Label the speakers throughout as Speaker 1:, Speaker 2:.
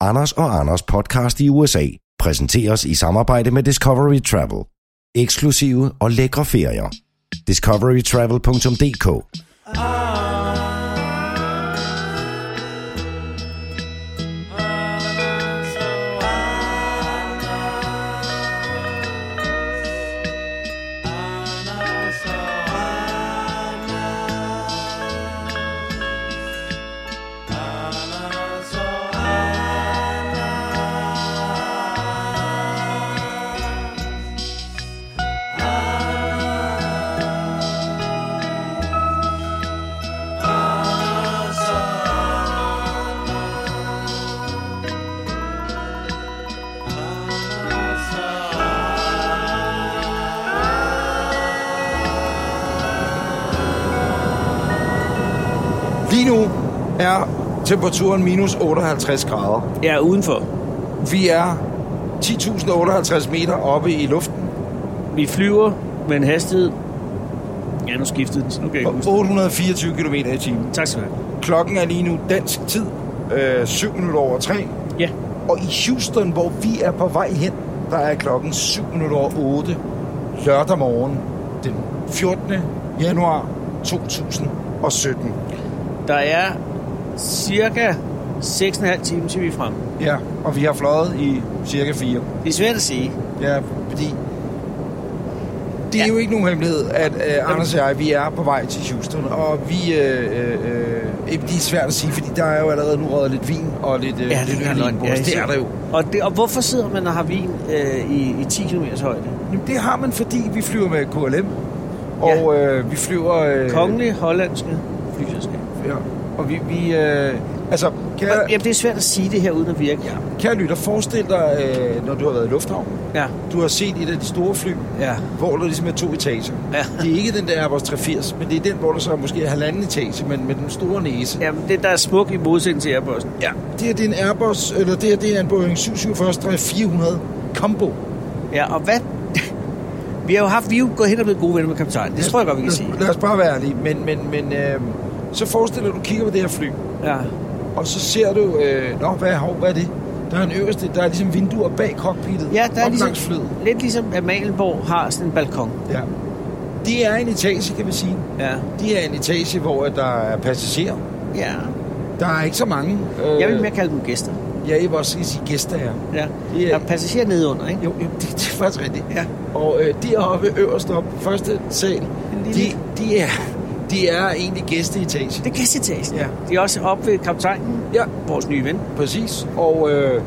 Speaker 1: Anders og Anders podcast i USA præsenteres i samarbejde med Discovery Travel. Eksklusive og lækre ferier. discoverytravel.dk
Speaker 2: Lige nu er temperaturen minus 58 grader.
Speaker 3: Ja, udenfor.
Speaker 2: Vi er 10.058 meter oppe i luften
Speaker 3: Vi flyver med en hastighed. Ja, nu skiftede den, så nu kan jeg
Speaker 2: og
Speaker 3: ikke huske.
Speaker 2: 824 km i timen.
Speaker 3: det. Tak skal du have.
Speaker 2: Klokken er lige nu dansk tid, øh, 7 minutter over 3.
Speaker 3: Ja,
Speaker 2: Og i Houston, hvor vi er på vej hen, der er klokken 7 minutter over 8 lørdag morgen den 14. januar 2017.
Speaker 3: der er cirka 6,5 timer til vi er fremme.
Speaker 2: Ja, og vi har fløjet i cirka 4.
Speaker 3: Det er svært at sige.
Speaker 2: Ja, fordi det er
Speaker 3: Ja.
Speaker 2: jo ikke nogen hemmelighed, at øh, Anders og jeg, vi er på vej til Houston, og vi, øh, øh, øh, det er svært at sige, fordi der er jo allerede nu røget lidt vin og lidt, øh, lidt øl i en bords. det er der jo.
Speaker 3: Og, det, og hvorfor sidder man og har vin øh, i, i 10 km højde?
Speaker 2: Jamen, det har man, fordi vi flyver med KLM, og øh, vi flyver... Øh,
Speaker 3: Kongelige hollandske flyselskab.
Speaker 2: Ja, og vi... vi øh, altså, kære,
Speaker 3: Ja. Jamen, det er svært at sige det her uden at virke. Ja.
Speaker 2: kære lytter, forestil dig, øh, når du har været i lufthavnen,
Speaker 3: Ja.
Speaker 2: du har set et af de store fly,
Speaker 3: Ja.
Speaker 2: hvor der ligesom er to etager.
Speaker 3: Ja.
Speaker 2: Det er ikke den der Airbus 380, men det er den, hvor der så er måske halvanden etage, men med den store næse.
Speaker 3: Jamen, det der er smuk i modsætning til Airbussen.
Speaker 2: Ja. Det her det er en Airbus, eller det her det er en Boeing 747-400 Combo.
Speaker 3: Ja, og hvad... vi har jo haft, vi er jo gået hen og blevet gode venner med kaptajnen. Det tror jeg godt, vi kan sige.
Speaker 2: Lad, lad os bare være ærlige, men, men, men øh, så forestil dig, at du kigger på det her fly,
Speaker 3: Ja.
Speaker 2: og så ser du, øh, nå, hvad, hov, hvad er det? Der er en øverste, der er ligesom vinduer bag cockpittet,
Speaker 3: Ja, der er
Speaker 2: op
Speaker 3: ligesom,
Speaker 2: langs flyet.
Speaker 3: lidt ligesom Amalienborg har sådan en balkon.
Speaker 2: Ja. Det er en etage, kan man sige.
Speaker 3: Ja.
Speaker 2: Det er en etage, hvor at der er passagerer.
Speaker 3: ja.
Speaker 2: Der er ikke så mange. Øh,
Speaker 3: Jeg vil mere kalde dem gæster.
Speaker 2: Ja, jeg vil også sige gæster her.
Speaker 3: Ja.
Speaker 2: Det
Speaker 3: Der
Speaker 2: er-
Speaker 3: er passagerer nedenunder, ikke?
Speaker 2: Jo, jo det, det er faktisk rigtigt.
Speaker 3: øh, Ja.
Speaker 2: Og øh, deroppe øverst op, første sal,
Speaker 3: lille-
Speaker 2: de, de, er, de er egentlig gæsteetage.
Speaker 3: Det er gæstetagen.
Speaker 2: Ja.
Speaker 3: De er også oppe ved kaptajnen,
Speaker 2: Ja,
Speaker 3: vores nye ven.
Speaker 2: præcis. Og øh,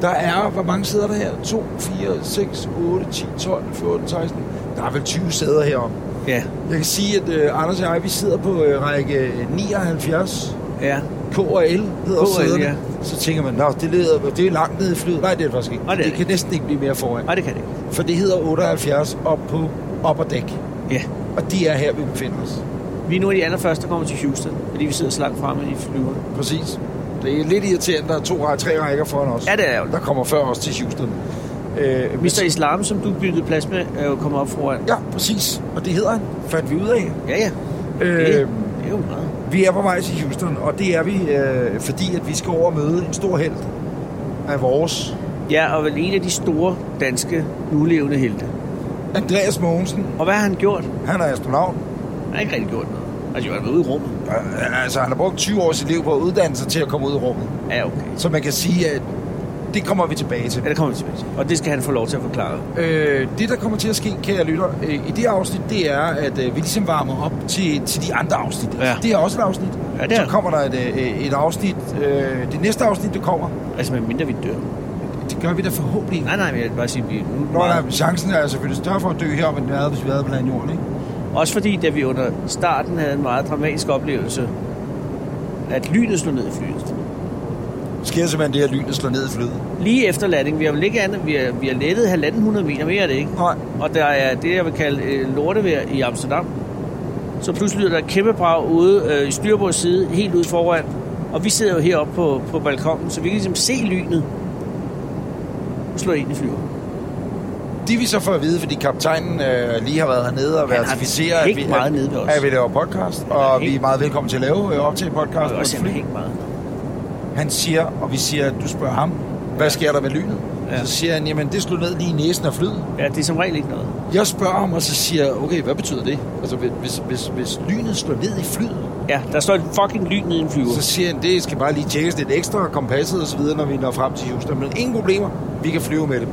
Speaker 2: der er, hvor mange sæder der her? 2, 4, 6, 8, 10, 12, 14, 16. Der er vel 20 sæder heroppe.
Speaker 3: Ja.
Speaker 2: Jeg kan sige, at øh, Anders og jeg, vi sidder på øh, række 79.
Speaker 3: Ja.
Speaker 2: KRL hedder
Speaker 3: KRL,
Speaker 2: sæderne.
Speaker 3: ja.
Speaker 2: Så tænker man, nå, det, leder, det er langt nede i flyet. Nej, det er det faktisk ikke.
Speaker 3: Nej, det er
Speaker 2: det
Speaker 3: det
Speaker 2: kan næsten ikke blive mere foran.
Speaker 3: Nej, det kan det ikke.
Speaker 2: For det hedder 78 op på opperdæk.
Speaker 3: Ja.
Speaker 2: Og de er her, vi befinder os.
Speaker 3: Vi er nu de allerførste, der kommer til Houston, fordi vi sidder så langt fremme i flyver.
Speaker 2: Præcis. Det er lidt irriterende, der er to rækker, tre rækker foran os.
Speaker 3: Ja, det er jo.
Speaker 2: Der kommer før os til Houston. Øh,
Speaker 3: Mr. Islam, som du byttede plads med, er jo kommet op foran.
Speaker 2: Ja, præcis. Og det hedder han, fandt vi ud af.
Speaker 3: Ja, ja. Det,
Speaker 2: Øh,
Speaker 3: det er jo meget.
Speaker 2: vi er på vej til Houston, og det er vi, øh, fordi at vi skal over og møde en stor held af vores.
Speaker 3: Ja, og vel en af de store danske nulevende helte.
Speaker 2: Andreas Mogensen,
Speaker 3: Og hvad har han gjort?
Speaker 2: han er astronaut.
Speaker 3: Han har ikke rigtig gjort noget. Altså, jo, han var ude i rummet.
Speaker 2: Øh, altså, han har brugt 20 år af sit liv på at uddanne sig til at komme ud i rummet.
Speaker 3: Ja, okay.
Speaker 2: Så man kan sige, at det kommer vi tilbage til.
Speaker 3: Ja, det kommer vi tilbage til. Og det skal han få lov til at forklare.
Speaker 2: Øh, det, der kommer til at ske, kære lytter, øh, i det afsnit, det er, at øh, vi ligesom varmer op til, til de andre afsnit. Altså,
Speaker 3: Ja.
Speaker 2: Det er også et afsnit.
Speaker 3: Ja, det er
Speaker 2: Så
Speaker 3: det.
Speaker 2: kommer der et, øh, et afsnit. Øh, det næste afsnit, der kommer,
Speaker 3: Altså, med mindre vi dør.
Speaker 2: det gør vi da forhåbentlig.
Speaker 3: Nej, nej, men jeg vil bare sige, at vi nu
Speaker 2: Nå, nej, chancen er selvfølgelig større for at dø her, end den er, hvis vi havde på landjorden, ikke?
Speaker 3: Også fordi, da vi under starten havde en meget dramatisk oplevelse, at lynet slog ned i flyet.
Speaker 2: Så sker simpelthen det her lyn, der slår ned i flyet.
Speaker 3: Lige efter landing, vi har vel ikke andet, vi har, vi har lettet 1.500 meter mere, er det ikke?
Speaker 2: Nej.
Speaker 3: Og der er det, jeg vil kalde øh, lortevejr i Amsterdam. Så pludselig lyder der et kæmpe brag ude øh, i styrbords side, helt ude foran. Og vi sidder jo heroppe på, på balkongen, så vi kan ligesom se lynet slå ind i flyet.
Speaker 2: Det vi så får at vide, fordi kaptajnen øh, lige har været hernede og
Speaker 3: Han har
Speaker 2: verificeret, at
Speaker 3: hængt
Speaker 2: vi,
Speaker 3: meget
Speaker 2: at,
Speaker 3: nede ved os.
Speaker 2: at vi laver podcast,
Speaker 3: har
Speaker 2: og vi
Speaker 3: hængt-
Speaker 2: er meget velkommen til at lave øh, op til podcast.
Speaker 3: Og
Speaker 2: på et
Speaker 3: også
Speaker 2: fly.
Speaker 3: helt meget.
Speaker 2: Han siger, og vi siger, du spørger ham, hvad
Speaker 3: Ja.
Speaker 2: sker der ved lynet?
Speaker 3: Ja.
Speaker 2: Ja. Så siger han, jamen det slog ned lige i næsen af flyet.
Speaker 3: Ja, det er som regel ikke noget.
Speaker 2: Jeg spørger ham, og så siger jeg, okay, hvad betyder det? Altså, hvis- hvis, hvis, hvis lynet slår ned i flyet,
Speaker 3: Ja, der står et fucking lyn nede i en flyver.
Speaker 2: så siger han, det skal bare lige tjekkes lidt ekstra, kompasset og så videre, når vi når frem til Houston. Men ingen problemer, vi kan flyve med det.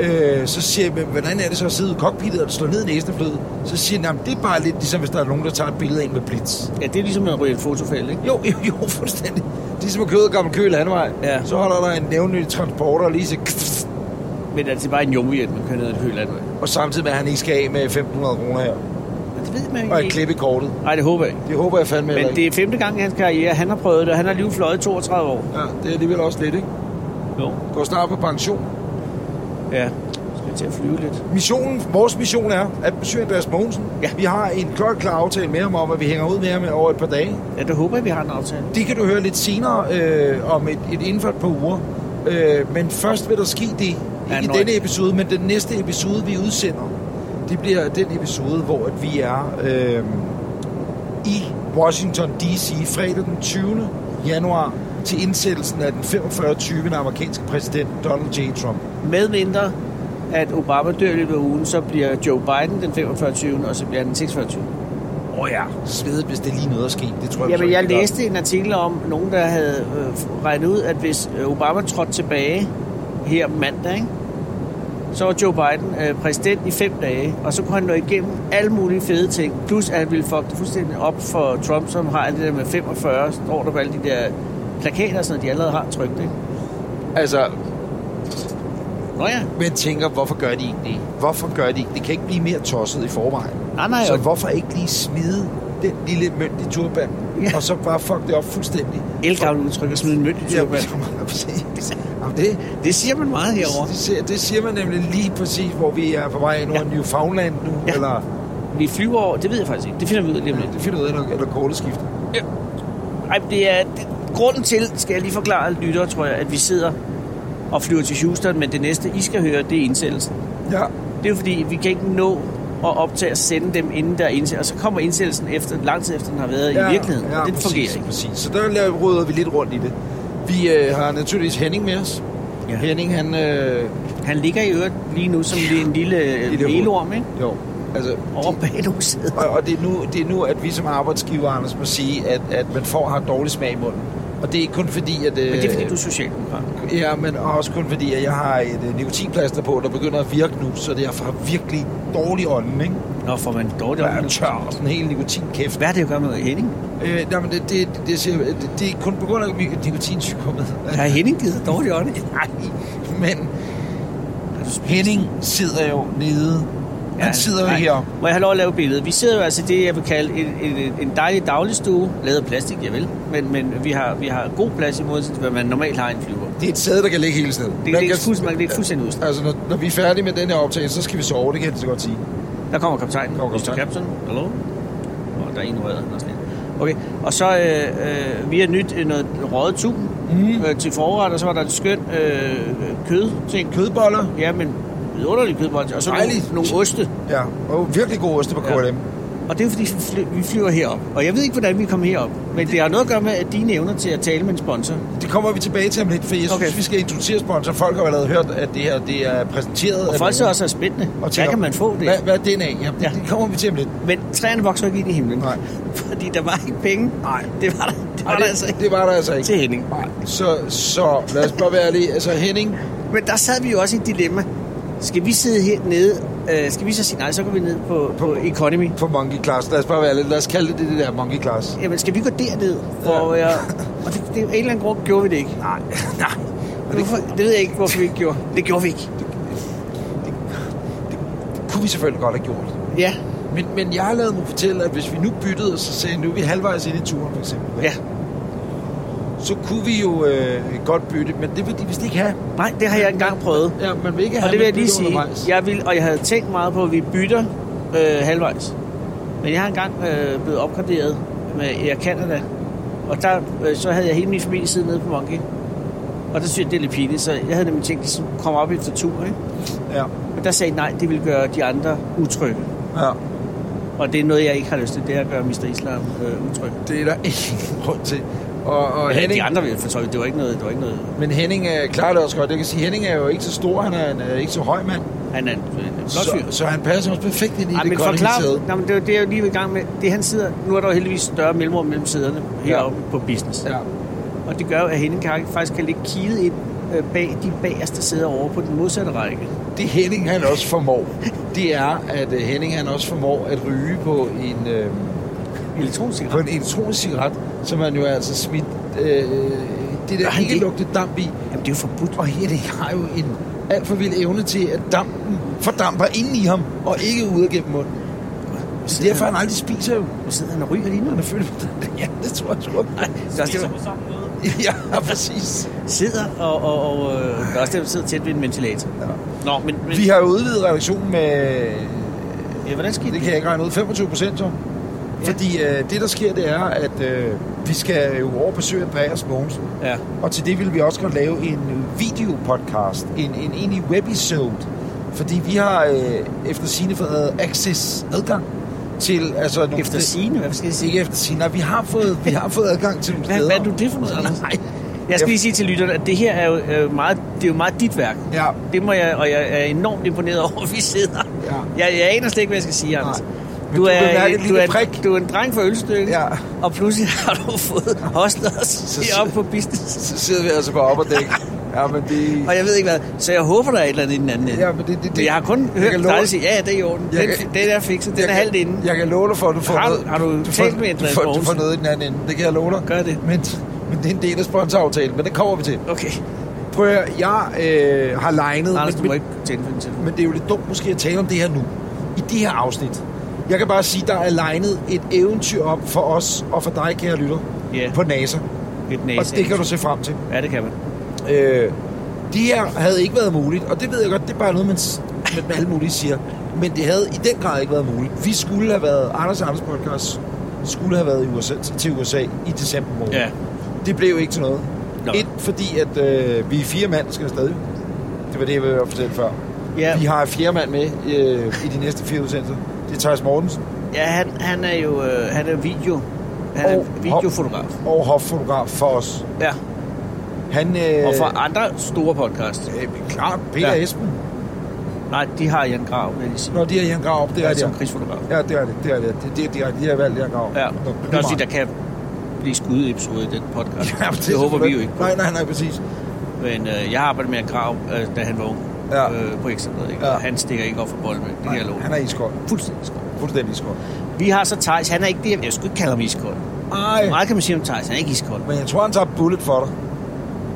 Speaker 3: Ja.
Speaker 2: Øh, så siger jeg, "Men hvordan er det så at sidde i cockpittet og slå ned i næsen af flyet? Så siger han, "Jamen, det er bare lidt ligesom, hvis der er nogen, der tager et billede af en med blitz.
Speaker 3: ja, det er ligesom at ryge et fotofælde, ikke?
Speaker 2: Jo, jo, jo, fuldstændig. Ligesom De som har kød og gammel køl landvej.
Speaker 3: Ja.
Speaker 2: Så holder der en nævnlig transporter lige så...
Speaker 3: Men altså, det er bare en jungehjælp, man kører ned ad et højt landvej.
Speaker 2: Og samtidig med, at han ikke skal af med 1.500 kroner her.
Speaker 3: Men Det ved man ikke.
Speaker 2: Og et klip i kortet.
Speaker 3: Nej, det håber jeg ikke.
Speaker 2: Det håber jeg fandme heller
Speaker 3: Men
Speaker 2: ikke.
Speaker 3: det er femte gang i hans karriere, han har prøvet det, og han har lige fløjet i 32 år.
Speaker 2: Ja, det er alligevel også lidt, ikke?
Speaker 3: Jo.
Speaker 2: Går snart på pension.
Speaker 3: Ja. Skal til at flyve lidt.
Speaker 2: Missionen, vores mission er at besøge Andreas Mogensen.
Speaker 3: Ja.
Speaker 2: Vi har en klokkeklar aftale med ham om, at vi hænger ud med ham over et par dage.
Speaker 3: Ja, der håber jeg, vi har en aftale.
Speaker 2: Det kan du høre lidt senere øh, om et, et inden for et par uger. Øh, men først vil der ske det, ikke
Speaker 3: Ja,
Speaker 2: ja, i
Speaker 3: nøj.
Speaker 2: denne episode, men den næste episode, vi udsender, det bliver den episode, hvor at vi er øh, i Washington D.C. fredag den 20. januar til indsættelsen af den 45. 20. amerikanske præsident Donald J. Trump.
Speaker 3: Med mindre, at Obama dør i løbet af ugen, så bliver Joe Biden den 45. 20., og så bliver han den 46. 20.
Speaker 2: Åh oh ja, svedet, hvis det lige noget at ske. Det tror jeg
Speaker 3: Jamen,
Speaker 2: så
Speaker 3: jeg
Speaker 2: ikke, det gør.
Speaker 3: læste en artikel om nogen, der havde øh, regnet ud, at hvis øh, Obama trådte tilbage her mandag, ikke? så var Joe Biden øh, præsident i fem dage, og så kunne han nå igennem alle mulige fede ting. Plus, at han ville fuck det fuldstændig op for Trump, som har alt det der med 45, står der på alle de der plakater, sådan, at de allerede har trykt det.
Speaker 2: Altså,
Speaker 3: Nå ja,
Speaker 2: men tænker, hvorfor gør de ikke det? Hvorfor gør de ikke det? kan ikke blive mere tosset i forvejen.
Speaker 3: nej, nej,
Speaker 2: Så
Speaker 3: og
Speaker 2: hvorfor ikke lige smide den lille mønt i turban,
Speaker 3: Ja.
Speaker 2: ja. og så bare fuck det op fuldstændig?
Speaker 3: elgavle udtryk at smide en mønt i
Speaker 2: Ja,
Speaker 3: turban.
Speaker 2: præcis. Jamen, det,
Speaker 3: Det siger man meget herovre.
Speaker 2: det, siger, det siger man nemlig lige præcis, hvor vi er på vej nu
Speaker 3: Ja.
Speaker 2: ja. Newfoundland nu,
Speaker 3: Ja.
Speaker 2: ja. eller,
Speaker 3: Vi flyver over, det ved jeg faktisk ikke, det finder vi ud af lige om lidt.
Speaker 2: det finder jeg ud af, eller, eller korte skift.
Speaker 3: Ej, det er det, grunden til, skal jeg lige forklare lyttere, tror jeg, at vi sidder og flyver til Houston, men det næste, I skal høre, det er indsættelsen.
Speaker 2: Ja,
Speaker 3: Det er jo fordi, vi kan ikke nå at optage og sende dem, inden der er indsættelse. Og så kommer indsættelsen efter, lang tid efter, den har været
Speaker 2: ja,
Speaker 3: i virkeligheden.
Speaker 2: Ja,
Speaker 3: og det
Speaker 2: præcis,
Speaker 3: fungerer ikke.
Speaker 2: Præcis. Så der laver, råder vi lidt rundt i det. Vi øh, har naturligvis Henning med os.
Speaker 3: Ja.
Speaker 2: Ja. Henning, han... Øh,
Speaker 3: Han ligger i øvrigt lige nu som en lille øh,
Speaker 2: Lille
Speaker 3: melorm, ikke?
Speaker 2: jo, altså,
Speaker 3: Over baghuset.
Speaker 2: Og, og det, er nu, det er nu, at vi som arbejdsgiver, Anders, må sige, at, at man får har dårlig smag i munden. Og det er ikke kun fordi, at... Øh,
Speaker 3: Men det er fordi, du er socialdemokrat.
Speaker 2: Ja, men også kun fordi, at jeg har et øh, nikotinplaster på, der begynder at virke nu, så det er for virkelig dårlig ånden, ikke?
Speaker 3: Nå, får man dårligt
Speaker 2: Jeg er
Speaker 3: om
Speaker 2: tør og sådan en hel nikotinkæft.
Speaker 3: Hvad er det at gøre med Henning?
Speaker 2: Øh, nej, men det, det, det, det, siger, det, det er kun på grund af mi- nikotinsykomet.
Speaker 3: Har Henning givet dig dårligt ånde?
Speaker 2: Nej, men Henning sidder jo nede. Han sidder jo
Speaker 3: nej.
Speaker 2: her.
Speaker 3: Må jeg have lov at lave billedet? Vi sidder jo altså i det, jeg vil kalde en, en, en dejlig dagligstue, lavet af plastik, jeg vil. Men, men vi, har, vi har god plads i modsætning til, hvad man normalt har i en flyver.
Speaker 2: Det er et sæde, der kan ligge hele stedet.
Speaker 3: Det kan ligge fuldstændig, man kan ligge fuldstændig udstået.
Speaker 2: Altså, når, når vi er færdige med den her optagelse, så skal vi sove, det kan jeg så godt sige.
Speaker 3: Der kommer kaptajnen.
Speaker 2: Kommer
Speaker 3: Mr.
Speaker 2: kaptajnen.
Speaker 3: Captain. Hallo? Og der er en rød, han også lidt. Okay, og så øh, øh, vi har nyt øh, noget røget tun mm.
Speaker 2: Mm.
Speaker 3: øh, til forret, og så var der et skønt øh, kød ting.
Speaker 2: Kødboller.
Speaker 3: Ja, men vidunderlig kødbold. Og så nogle,
Speaker 2: Dejligt.
Speaker 3: nogle oste.
Speaker 2: Ja, og virkelig god oste på KLM.
Speaker 3: Ja. Og det er fordi, vi fly- vi flyver herop. Og jeg ved ikke, hvordan vi kom herop. Men det har noget at gøre med, at dine evner til at tale med en sponsor.
Speaker 2: Det kommer vi tilbage til om lidt, for jeg okay.
Speaker 3: Okay.
Speaker 2: synes, vi skal introducere sponsor. Folk har jo allerede hørt, at det her det er præsenteret.
Speaker 3: Og
Speaker 2: af
Speaker 3: folk
Speaker 2: nogen.
Speaker 3: så også er spændende. Og Hvad
Speaker 2: tænker,
Speaker 3: kan man få
Speaker 2: Hvad,
Speaker 3: det?
Speaker 2: hvad er den af? Jamen,
Speaker 3: Ja.
Speaker 2: ja. det kommer vi til om lidt.
Speaker 3: Men træerne vokser ikke ind i himlen.
Speaker 2: Nej.
Speaker 3: Fordi der var ikke penge.
Speaker 2: Nej.
Speaker 3: Det var der, det var
Speaker 2: Nej,
Speaker 3: der altså ikke
Speaker 2: det var der altså ikke.
Speaker 3: til Henning. Nej.
Speaker 2: Så, så lad os bare være ærlige. Altså Henning,
Speaker 3: Men der sad vi jo også i et dilemma. Skal vi sidde hernede? Øh, skal vi så sige nej, så går vi ned på, på Economy.
Speaker 2: på Monkey Class. Lad os bare være ærlige. Lad os kalde det det der Monkey Class.
Speaker 3: Jamen, skal vi gå derned? For, ja. jeg, og det, det, af en eller anden grund gjorde vi det ikke.
Speaker 2: Nej, nej.
Speaker 3: Hvorfor, det ved jeg ikke, hvorfor vi ikke gjorde. Det gjorde vi ikke.
Speaker 2: Det kunne vi selvfølgelig godt have gjort.
Speaker 3: Ja,
Speaker 2: Men, men jeg har lavet mig fortælle, at hvis vi nu byttede, og så sagde nu er vi halvvejs ind i turen, for eksempel.
Speaker 3: ja.
Speaker 2: så kunne vi jo øh, godt bytte, men det vil de vist ikke have.
Speaker 3: Nej, det har jeg engang prøvet.
Speaker 2: Ja, man vil ikke have
Speaker 3: Og det vil jeg
Speaker 2: med
Speaker 3: lige
Speaker 2: bytte
Speaker 3: sige,
Speaker 2: undervejs.
Speaker 3: jeg vil, og jeg havde tænkt meget på, at vi bytter øh, halvvejs. Men jeg har engang øh, blevet opgraderet med Air Canada, og der, øh, så havde jeg hele min familie siddet nede på Monkey. Og der synes jeg, det er lidt pinligt, så jeg havde nemlig tænkt, at de skulle komme op efter tur, ikke?
Speaker 2: Ja.
Speaker 3: Men der sagde de, nej, det ville gøre de andre utrygge.
Speaker 2: ja.
Speaker 3: Og det er noget, jeg ikke har lyst til, det er at gøre Mr. Islam øh, utryg.
Speaker 2: Det er der ingen grund til. Og, og
Speaker 3: Ja, de
Speaker 2: Henning,
Speaker 3: andre ville fortolke, det var ikke noget, det var ikke noget.
Speaker 2: men Henning øh, klarer det også godt. Jeg kan sige, Henning er jo ikke så stor, han er, han er ikke så høj mand.
Speaker 3: Han er en, en flot
Speaker 2: Så,
Speaker 3: fyr.
Speaker 2: så han passer også perfekt ind i
Speaker 3: Ej,
Speaker 2: det
Speaker 3: men
Speaker 2: kolding sæde.
Speaker 3: forklar, Nå, men det, er jo det jeg er jo lige ved i gang med. Det han sidder, nu er der jo heldigvis større mellemrum mellem sæderne heroppe på business.
Speaker 2: Ja.
Speaker 3: Og det gør jo, at Henning kan, faktisk kan ligge kiget ind øh, bag de bagerste sæder over på den modsatte række.
Speaker 2: Det Henning han også formår, det er, at øh, Henning han også formår at ryge på en, øh, på
Speaker 3: Elektronicigaret.
Speaker 2: en elektronisk cigaret, som han jo altså smidt øh, det der
Speaker 3: han
Speaker 2: ikke
Speaker 3: det?
Speaker 2: lugte damp i.
Speaker 3: Jamen, det er jo forbudt.
Speaker 2: Og Henning har jo en alt for vild evne til, at dampen fordamper ind i ham, og ikke ude gennem munden. Så derfor han aldrig spiser jo.
Speaker 3: Nu sidder han og ryger lige nu.
Speaker 2: Han er fyldt Ja, det tror jeg sgu.
Speaker 3: Nej, det er også det, man
Speaker 2: Ja, præcis.
Speaker 3: sidder og, og, og øh, det er også det, man sidder tæt ved en ventilator.
Speaker 2: Ja.
Speaker 3: Nå, men, men
Speaker 2: Vi har jo udvidet redaktionen med,
Speaker 3: ja, hvordan skal I
Speaker 2: det kan jeg ikke regne ud, 25 procent, ja. Fordi øh, det, der sker, det er, at øh, vi skal jo over besøge Andreas Mogensen.
Speaker 3: Ja.
Speaker 2: Og til det vil vi også godt lave en videopodcast, en, en egentlig webisode, fordi vi har øh, efter sine fået access adgang til altså nogle
Speaker 3: Efter sigende, hvad skal jeg sige?
Speaker 2: ikke efter sine, nej, vi har fået vi har fået adgang til nogle
Speaker 3: Hvad,
Speaker 2: steder.
Speaker 3: hvad er du det for noget, Anders?
Speaker 2: Nej.
Speaker 3: Jeg skal lige sige til lytterne, at det her er jo, øh, meget, det er jo meget dit værk.
Speaker 2: Ja,
Speaker 3: Det må jeg, og jeg er enormt imponeret over, at vi sidder.
Speaker 2: Ja.
Speaker 3: Jeg, jeg aner slet ikke, hvad jeg skal sige, Anders.
Speaker 2: Nej. Men du vil mærke et
Speaker 3: du,
Speaker 2: lille
Speaker 3: er,
Speaker 2: prik.
Speaker 3: du er en dreng for ølstykke,
Speaker 2: Ja.
Speaker 3: og pludselig har du fået hostlers
Speaker 2: Så-
Speaker 3: heroppe på business.
Speaker 2: så sidder vi altså på op og dæk. Ja, men det
Speaker 3: Og jeg ved ikke hvad, så jeg håber, der er et eller andet i den anden ende.
Speaker 2: Ja, men det- det- det-
Speaker 3: jeg har kun
Speaker 2: jeg kan
Speaker 3: hørt
Speaker 2: love-
Speaker 3: dig sige, ja, det er i orden. Den,
Speaker 2: Jeg
Speaker 3: den
Speaker 2: kan-
Speaker 3: er fikset, den er
Speaker 2: jeg,
Speaker 3: halvt
Speaker 2: kan-
Speaker 3: inde.
Speaker 2: Jeg kan love dig for, at du får
Speaker 3: Har-
Speaker 2: noget.
Speaker 3: har du
Speaker 2: du
Speaker 3: talt
Speaker 2: får,
Speaker 3: med
Speaker 2: du
Speaker 3: Andreas
Speaker 2: får, du får
Speaker 3: Mogensen?
Speaker 2: noget i den anden ende. Det kan jeg love dig.
Speaker 3: Gør det.
Speaker 2: Men, men det er en del af sponsoraftalen, men det kommer vi til.
Speaker 3: Okay,
Speaker 2: Prøv at høre, jeg øh, har legnet...
Speaker 3: Anders,
Speaker 2: men-
Speaker 3: du må ikke tænde for din telefon.
Speaker 2: men det er jo lidt dumt måske at tale om det her nu, i det her afsnit. Jeg kan bare sige, der er legnet et eventyr op for os og for dig, kære lytter,
Speaker 3: Ja.
Speaker 2: på NASA.
Speaker 3: Et
Speaker 2: Og
Speaker 3: næse.
Speaker 2: det kan du se frem til.
Speaker 3: Ja, det kan man.
Speaker 2: Øh, det her havde ikke været muligt, og det ved jeg godt, det er bare noget, man, s- man alle mulige siger. Men det havde i den grad ikke været muligt. Vi skulle have været, Anders og Anders podcast skulle have været i USA, til USA i december måned.
Speaker 3: Ja.
Speaker 2: Det blev ikke til noget.
Speaker 3: Nå.
Speaker 2: Et, fordi at øh, vi er fire mand, der skal afsted. Det var det, jeg ville fortælle før.
Speaker 3: Ja.
Speaker 2: Vi har en fjerde mand med øh, i de næste fire udsendelser. Det er Thijs Mortensen
Speaker 3: Ja, han, han er jo øh, han er video. Han er
Speaker 2: Og-
Speaker 3: videofotograf.
Speaker 2: og hoffotograf for os.
Speaker 3: Ja,
Speaker 2: Han øh,
Speaker 3: og for andre store podcasts.
Speaker 2: øh, klart Peter
Speaker 3: Ja.
Speaker 2: ja. Esben,
Speaker 3: Nej, de har Jan Grav, vil jeg lige sige.
Speaker 2: når de har Jan Grav op, det er
Speaker 3: som
Speaker 2: det.
Speaker 3: krigsfotograf.
Speaker 2: Ja, det er det. Det er det. Det, det, det er, de har valgt Jan Grav.
Speaker 3: Ja,
Speaker 2: Nå,
Speaker 3: det
Speaker 2: det
Speaker 3: er
Speaker 2: er
Speaker 3: også
Speaker 2: meget.
Speaker 3: sige, der kan blive skudeepisode i den podcast.
Speaker 2: Ja,
Speaker 3: det, det håber vi jo ikke.
Speaker 2: Nej, nej, nej, præcis.
Speaker 3: Men øh, jeg har arbejdet med Jan Grav, øh, da han var ung
Speaker 2: Ja.
Speaker 3: øh, på Ekstrabladet. Ikke?
Speaker 2: Ja.
Speaker 3: Og han stikker ikke op for bolden, det kan
Speaker 2: Nej,
Speaker 3: jeg love.
Speaker 2: han er iskold.
Speaker 3: fuldstændig skold.
Speaker 2: Fuldstændig iskold.
Speaker 3: Vi har så Thijs, han er ikke det, jeg skulle ikke kalde ham iskold.
Speaker 2: Ej,
Speaker 3: Meget kan man sige om Thijs, han er ikke iskold.
Speaker 2: men jeg tror, han tager bullet for dig.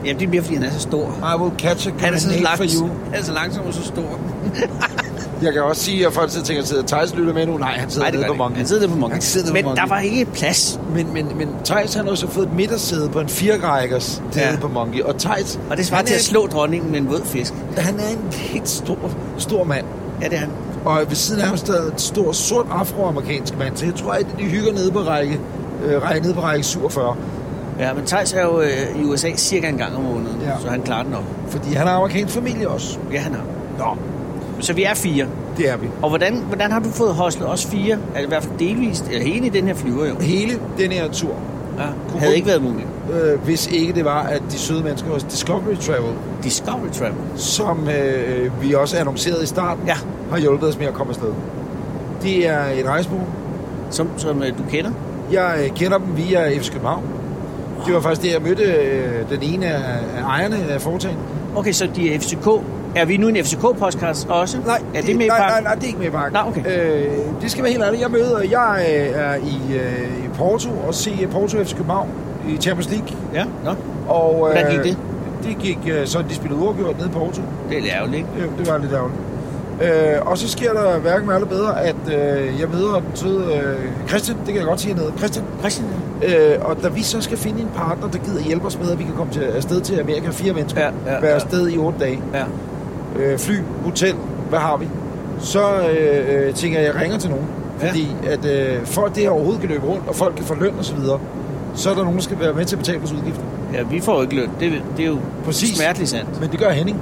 Speaker 3: Jamen, det er mere, fordi han er så stor.
Speaker 2: I will catch a
Speaker 3: Han er så,
Speaker 2: grenade
Speaker 3: langt,
Speaker 2: for you.
Speaker 3: han er så langsom og så stor.
Speaker 2: Jeg kan også sige, at folk sidder og tænker, at Thijs lytter med nu. Nej, han sidder
Speaker 3: Nej, det
Speaker 2: nede på
Speaker 3: gør det ikke.
Speaker 2: Monkey.
Speaker 3: Han sidder der på Monkey.
Speaker 2: Han sidder nede på
Speaker 3: Men
Speaker 2: Monkey.
Speaker 3: der var ikke plads.
Speaker 2: Men, men, men Thijs han har også fået et midtersæde på en firerækkers ja.
Speaker 3: Ja.
Speaker 2: på Monkey. Og Thijs,
Speaker 3: Og det svarer
Speaker 2: han,
Speaker 3: til
Speaker 2: er,
Speaker 3: at slå dronningen med en våd fisk.
Speaker 2: han er en helt stor, stor mand.
Speaker 3: Ja, det er han.
Speaker 2: Og ved siden af ham står en stor, sort afroamerikansk mand. Så jeg tror, at de hygger nede på række, øh, række- nede på række 47.
Speaker 3: Ja, men Thijs er jo øh, i USA cirka en gang om måneden, ja.
Speaker 2: Ja.
Speaker 3: så han klarer den nok.
Speaker 2: Fordi han har amerikansk familie også.
Speaker 3: Ja, han har.
Speaker 2: Nå,
Speaker 3: Så vi er fire.
Speaker 2: det er vi.
Speaker 3: Og hvordan, hvordan har du fået hoslet os fire? Altså i hvert fald delvist, eller hele i den her flyver jo.
Speaker 2: Hele den her tur,
Speaker 3: Ja, havde ikke været muligt.
Speaker 2: øh, hvis ikke det var, at de søde mennesker hos Discovery Travel,
Speaker 3: Discovery Travel.
Speaker 2: som øh, vi også annoncerede i starten,
Speaker 3: Ja.
Speaker 2: har hjulpet os med at komme afsted. Det er et rejsebureau,
Speaker 3: Som, som øh, du kender.
Speaker 2: Jeg øh, kender dem via FC København. Det var faktisk det, jeg mødte øh, den ene af af ejerne af foretagendet.
Speaker 3: Okay, så de er FCK. Er vi nu en FCK-podcast også? er det med
Speaker 2: nej,
Speaker 3: i
Speaker 2: nej,
Speaker 3: pakken?
Speaker 2: nej, det er ikke med i pakken.
Speaker 3: Nå, okay.
Speaker 2: Øh, det skal være helt ærligt. Jeg møder, jeg øh, er i, øh, i Porto og ser Porto FC København i Champions League.
Speaker 3: Ja, nå.
Speaker 2: Og, øh,
Speaker 3: Hvordan gik det?
Speaker 2: Det gik øh, sådan, de spillede uafgjort nede i Porto.
Speaker 3: Det er lidt ærgerligt, ikke?
Speaker 2: Det, det var lidt ærgerligt. Øh, og så sker der hverken med alle bedre, at øh, jeg møder den søde øh, Christian, det kan jeg godt sige hernede, Christian,
Speaker 3: Christian?
Speaker 2: Øh, og da vi så skal finde en partner, der gider hjælpe os med, at vi kan komme til, afsted til Amerika, fire mennesker,
Speaker 3: Ja, ja,
Speaker 2: være
Speaker 3: ja.
Speaker 2: afsted i otte dage,
Speaker 3: Ja.
Speaker 2: øh, fly, hotel, hvad har vi? Så øh, øh, tænker jeg, at jeg ringer til nogen.
Speaker 3: Ja.
Speaker 2: Fordi at øh, for at det her overhovedet kan løbe rundt, og folk kan få løn osv., så er der nogen, der skal være med til at betale vores udgifter.
Speaker 3: Ja, vi får jo ikke løn. Det, det er jo
Speaker 2: Præcis.
Speaker 3: smerteligt sandt.
Speaker 2: Men det gør Henning.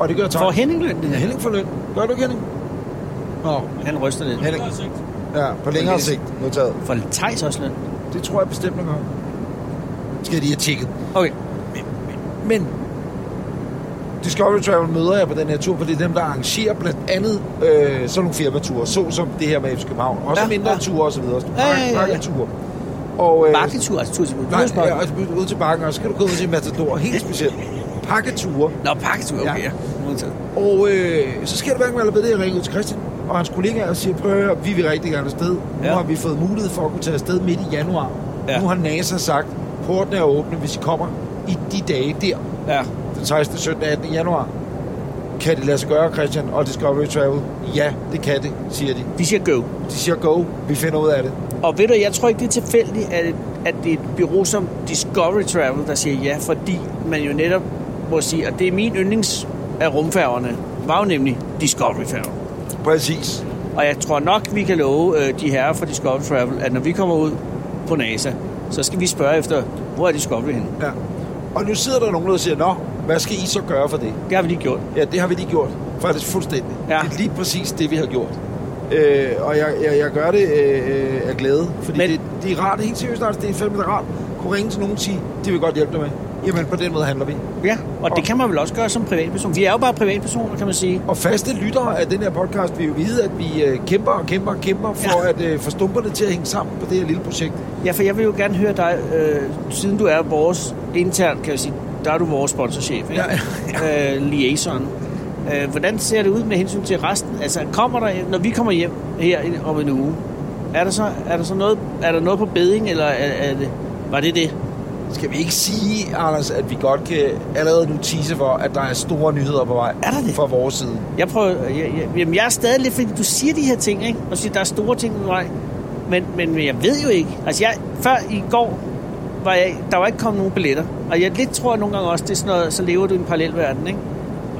Speaker 2: Og det gør Tom.
Speaker 3: Får Henning løn? Det
Speaker 2: Ja,
Speaker 3: her?
Speaker 2: Henning får løn. Gør du ikke, Henning? Nå,
Speaker 3: Han ryster lidt.
Speaker 2: Henning. Ja, på længere
Speaker 3: lidt.
Speaker 2: sigt. Noteret. Øh,
Speaker 3: Får Thijs også løn?
Speaker 2: Det tror jeg bestemt, han gør. Skal jeg lige have tjekket.
Speaker 3: Okay.
Speaker 2: Men Discovery Travel møder jeg på den her tur, for det er dem, der arrangerer blandt andet øh, sådan nogle firmature, såsom det her med FC København. Også
Speaker 3: Ja,
Speaker 2: ja, mindre
Speaker 3: ja.
Speaker 2: ja. ture osv.
Speaker 3: Ja, ja, ja, ja.
Speaker 2: Bakketure. Og, øh,
Speaker 3: Bakketur, altså tur til
Speaker 2: Nej, ja,
Speaker 3: Mødhusparken.
Speaker 2: og så ud til bakken, og så kan du gå ud til Matador. Helt specielt. Pakketure.
Speaker 3: Nå, pakketur, okay.
Speaker 2: Ja.
Speaker 3: Ja. Modtaget.
Speaker 2: Og øh, så sker det hverken eller ved det, jeg ringer ud til Christian og hans kollegaer og siger, prøv at høre, vi vil rigtig gerne afsted. Ja.
Speaker 3: Ja.
Speaker 2: Nu har vi fået mulighed for at kunne tage afsted midt i januar.
Speaker 3: Ja.
Speaker 2: Ja. Nu har NASA sagt, porten er åbne, hvis I kommer i de dage der,
Speaker 3: Ja.
Speaker 2: den 16., 17., 18. januar. Kan det lade sig gøre, Christian og Discovery Travel? Ja, det kan det, siger de.
Speaker 3: De siger go.
Speaker 2: De siger go, vi finder ud af det.
Speaker 3: Og ved du, jeg tror ikke, det er tilfældigt, at, at det er et bureau som Discovery Travel, der siger ja, fordi man jo netop må sige, at det er min yndlings af rumfærgerne, var jo nemlig discovery færgen
Speaker 2: Præcis.
Speaker 3: Og jeg tror nok, vi kan love øh, de herrer fra Discovery Travel, at når vi kommer ud på NASA, så skal vi spørge efter, hvor er Discovery henne?
Speaker 2: Ja. Og nu sidder der nogen, der siger, nå, hvad skal I så gøre for det?
Speaker 3: Det har vi lige gjort.
Speaker 2: Ja, det har vi lige gjort. Faktisk fuldstændig.
Speaker 3: Ja.
Speaker 2: Ja. Det er lige præcis det, vi har gjort. Øh, og jeg, jeg, jeg gør det øh, øh, af glæde, fordi
Speaker 3: Men-
Speaker 2: Men... det, det er rart, helt seriøst, altså, det er fandme rart. Kunne ringe til nogen og sige, det vil godt hjælpe dig med. Jamen, på den måde handler vi.
Speaker 3: Ja, og det kan man vel også gøre som privatperson. Vi er jo bare privatpersoner, kan man sige.
Speaker 2: Og faste lyttere af den her podcast vil jo vide, at vi øh, kæmper og kæmper og kæmper for
Speaker 3: Ja.
Speaker 2: ja. at øh, få stumperne til at hænge sammen på det her lille projekt.
Speaker 3: Ja, for jeg vil jo gerne høre dig, øh, siden du er vores intern, kan jeg sige, der er du vores sponsorchef, ikke?
Speaker 2: Ja,
Speaker 3: ja. Øh, liaison. Øh, hvordan ser det ud med hensyn til resten? Altså, kommer der, når vi kommer hjem her i- om en uge, er der så, er der så noget, er der noget på beding, eller er, er det, var det det?
Speaker 2: Skal vi ikke sige, Anders, at vi godt kan allerede nu tease for, at der er store nyheder på vej
Speaker 3: Er der det?
Speaker 2: fra vores side?
Speaker 3: Jeg prøver, jeg, jeg, jamen jeg er stadig lidt, fordi du siger de her ting, ikke? Og siger, der er store ting på vej. Men, men men jeg ved jo ikke. Altså jeg, før i går, var jeg, der var ikke kommet nogen billetter. Og jeg lidt tror nogle gange også, det er sådan noget, så lever du i en parallel verden, ikke?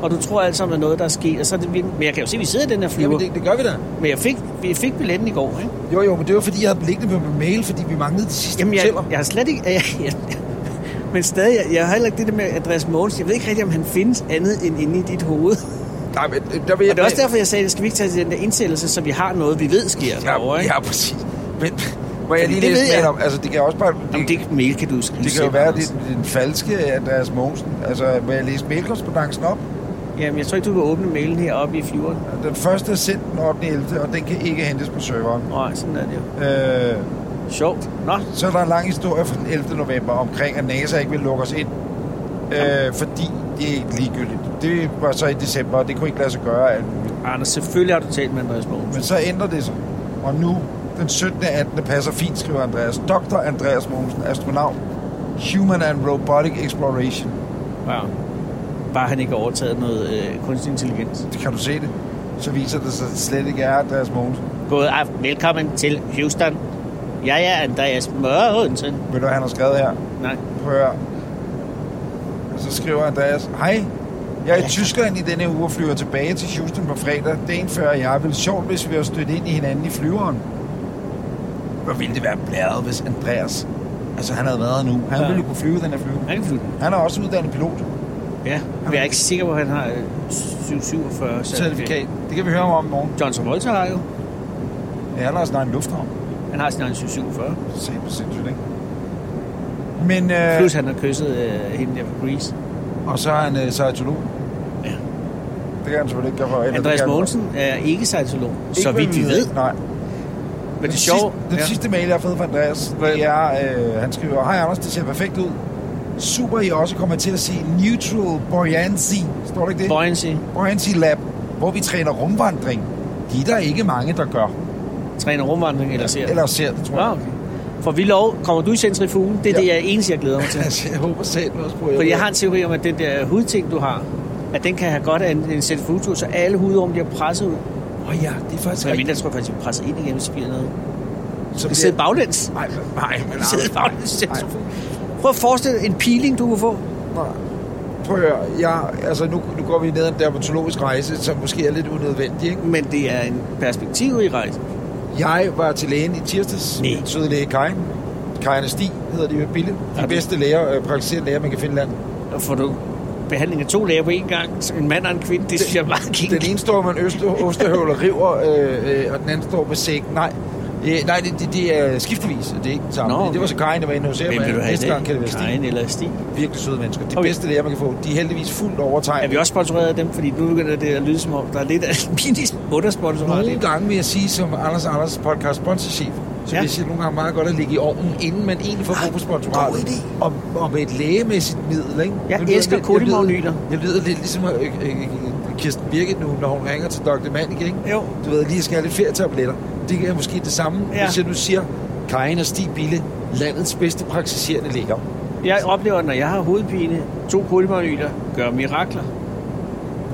Speaker 3: Og du tror alt sammen er noget, der er sket. Og så er det, vildt. men jeg kan jo se, at vi sidder i den her flyver.
Speaker 2: Jamen, det, det gør vi da.
Speaker 3: Men jeg fik, jeg fik billetten i går, ikke?
Speaker 2: Jo, jo, men det var fordi, jeg havde den liggende på min mail, fordi vi manglede de sidste
Speaker 3: Jamen, jeg,
Speaker 2: hoteller.
Speaker 3: jeg har slet ikke... Jeg, jeg, men stadig, jeg, jeg har heller ikke det der med Andreas Mogens. Jeg ved ikke rigtig, om han findes andet end inde i dit hoved.
Speaker 2: Nej, men øh, der vil jeg...
Speaker 3: Og det er også derfor, jeg sagde, at skal vi ikke tage til den der indsættelse, så vi har noget, vi ved sker
Speaker 2: Ja,
Speaker 3: derovre, ikke?
Speaker 2: ja, præcis. Men må jeg lige
Speaker 3: det
Speaker 2: læse
Speaker 3: ved jeg.
Speaker 2: med om? Altså, det kan også bare... Det,
Speaker 3: Jamen, det mail kan du skrive
Speaker 2: det kan jo
Speaker 3: selv,
Speaker 2: være,
Speaker 3: Anders.
Speaker 2: det er den falske Andreas Mogensen. Altså, må jeg læse mailkorrespondancen op?
Speaker 3: Jamen, jeg tror ikke, du kan åbne mailen heroppe i flyveren.
Speaker 2: Den første er sendt den 8. 11., og den kan ikke hentes på serveren.
Speaker 3: Nej, sådan er det jo.
Speaker 2: Øh,
Speaker 3: Sjovt. Nå,
Speaker 2: så er der en lang historie fra den 11. november omkring, at NASA ikke vil lukke os ind. Øh, fordi det er ikke ligegyldigt. Det var så i december, og det kunne ikke lade sig gøre. Alt muligt.
Speaker 3: Anders, selvfølgelig har du talt med Andreas Mogens.
Speaker 2: Men så ændrer det sig. Og nu, den 17. 18. passer fint, skriver Andreas. Dr. Andreas Mogensen, astronaut. Human and Robotic Exploration.
Speaker 3: Wow. Bare han ikke har overtaget noget øh, kunstig intelligens.
Speaker 2: Det kan du se det. Så viser det sig at det slet ikke er Andreas Mogensen.
Speaker 3: God aften. Velkommen til Houston. Jeg er Andreas Mogensen.
Speaker 2: Ved du, hvad han har skrevet her?
Speaker 3: Nej.
Speaker 2: Prøv at høre. Og så skriver Andreas, hej, jeg er i Tyskland i denne uge og flyver tilbage til Houston på fredag. Dagen før jeg ville sjovt, hvis vi var stødt ind i hinanden i flyveren. Hvor ville det være blæret, hvis Andreas... Altså, han havde været nu. Han
Speaker 3: Ja.
Speaker 2: ja. ville jo kunne flyve den her flyve.
Speaker 3: Han kan flytte.
Speaker 2: Han er også uddannet pilot.
Speaker 3: Ja, men jeg er ikke sikker på, at han har øh, 747 certifikat.
Speaker 2: Det kan vi høre om i morgen.
Speaker 3: John Travolta har jo.
Speaker 2: Ja, han har snart en lufthavn.
Speaker 3: Han har sin egen 747.
Speaker 2: Se på sindssygt, ikke? Men, øh,
Speaker 3: Plus han har kysset øh, hende der fra Grease.
Speaker 2: og så er han øh, sejtolog.
Speaker 3: Ja.
Speaker 2: Det kan han selvfølgelig ikke gøre for. eller det
Speaker 3: Andreas
Speaker 2: kan han-
Speaker 3: Mogensen er ikke sejtolog,
Speaker 2: Ikke
Speaker 3: så
Speaker 2: hvad
Speaker 3: vidt vi ved.
Speaker 2: Nej.
Speaker 3: Men det er
Speaker 2: sidste,
Speaker 3: sjovt.
Speaker 2: den sidste mail, jeg har fået fra Andreas, det er, øh, han skriver, Hej Anders, det ser perfekt ud. Super, I også kommer til at se Neutral Buoyancy, står der ikke det?
Speaker 3: Buoyancy.
Speaker 2: Buoyancy Lab, hvor vi træner rumvandring. De er der ikke mange, der gør.
Speaker 3: Træner rumvandring eller ser.
Speaker 2: Eller ser det, tror
Speaker 3: Nå,
Speaker 2: jeg.
Speaker 3: okay. For vi lov, kommer du i centrifugen? Det er ja.
Speaker 2: Ja.
Speaker 3: det, jeg er eneste, jeg glæder mig til.
Speaker 2: Altså, jeg håber selv også på,
Speaker 3: For jeg har en teori om, at den der hudting, du har, at den kan have godt af en, en centrifugetur, så alle hudrum bliver presset ud.
Speaker 2: Åh oh, ja, det er faktisk
Speaker 3: Så jeg mindre tror jeg faktisk, at vi presser ind igennem så bliver det noget.
Speaker 2: Så
Speaker 3: Vi sidder baglæns.
Speaker 2: Nej, men- nej, men
Speaker 3: Vi sidder
Speaker 2: nej.
Speaker 3: baglæns i centrifugen. Prøv at forestille dig en peeling, du kunne få.
Speaker 2: Nej. Prøv at høre, jeg, altså nu, nu går vi ned ad en dermatologisk rejse, som måske er lidt unødvendig, ikke?
Speaker 3: Men det er en perspektiv i rejsen.
Speaker 2: Jeg var til lægen i tirsdags.
Speaker 3: Nej.
Speaker 2: Min søde læge Kajen. Kajen og Stig hedder de jo i Bille.
Speaker 3: Ja.
Speaker 2: De bedste læger, øh, praktiserende læger, man kan finde i landet.
Speaker 3: Og får du behandling af to læger på én gang, så en mand og en kvinde, det, synes jeg er meget
Speaker 2: Den
Speaker 3: kinky.
Speaker 2: ene står med en øste, ostehøvl og river, øh, øh, og den anden står med sæk. Nej. Øh, nej, det, det, det er skiftevis. Det er ikke det samme.
Speaker 3: Nå,
Speaker 2: Nå,
Speaker 3: okay.
Speaker 2: okay. Det var så Karin, der var inde hos jer.
Speaker 3: Hvem vil du have i
Speaker 2: Næste
Speaker 3: dag?
Speaker 2: gang kan det være Stig.
Speaker 3: Karin eller Stig?
Speaker 2: Virkelig søde mennesker. Det
Speaker 3: Okay.
Speaker 2: okay. bedste lærer, man kan få. De er heldigvis fuldt overtegnet.
Speaker 3: Er vi også sponsoreret af dem? Fordi nu begynder det at lyde som om, der er lidt af en mini undersponsorat.
Speaker 2: Nogle
Speaker 3: Det
Speaker 2: gange vil jeg sige, som Anders Anders podcast sponsorchef, så
Speaker 3: Ja.
Speaker 2: ja. vil jeg sige, at nogle gange er meget godt at ligge i ovnen, inden man egentlig får brug for sponsoratet.
Speaker 1: god idé.
Speaker 2: Og, og med et lægemæssigt middel, ikke?
Speaker 3: Jeg
Speaker 2: Nu lyder
Speaker 3: elsker
Speaker 2: lidt- jeg lyder-
Speaker 3: kodimagnyler.
Speaker 2: Jeg lyder lidt ligesom øh, øh, øh, Kirsten Birgit nu, når hun ringer til Dr. Manning, ikke?
Speaker 3: Jo.
Speaker 2: Du ved, lige skal have lidt ferietabletter. Det er måske det samme,
Speaker 3: Ja.
Speaker 2: ja. hvis jeg nu siger, Karin og Stig Bille, landets bedste praktiserende læger.
Speaker 3: Jeg oplever, når jeg har hovedpine, to kodimagnyler gør mirakler.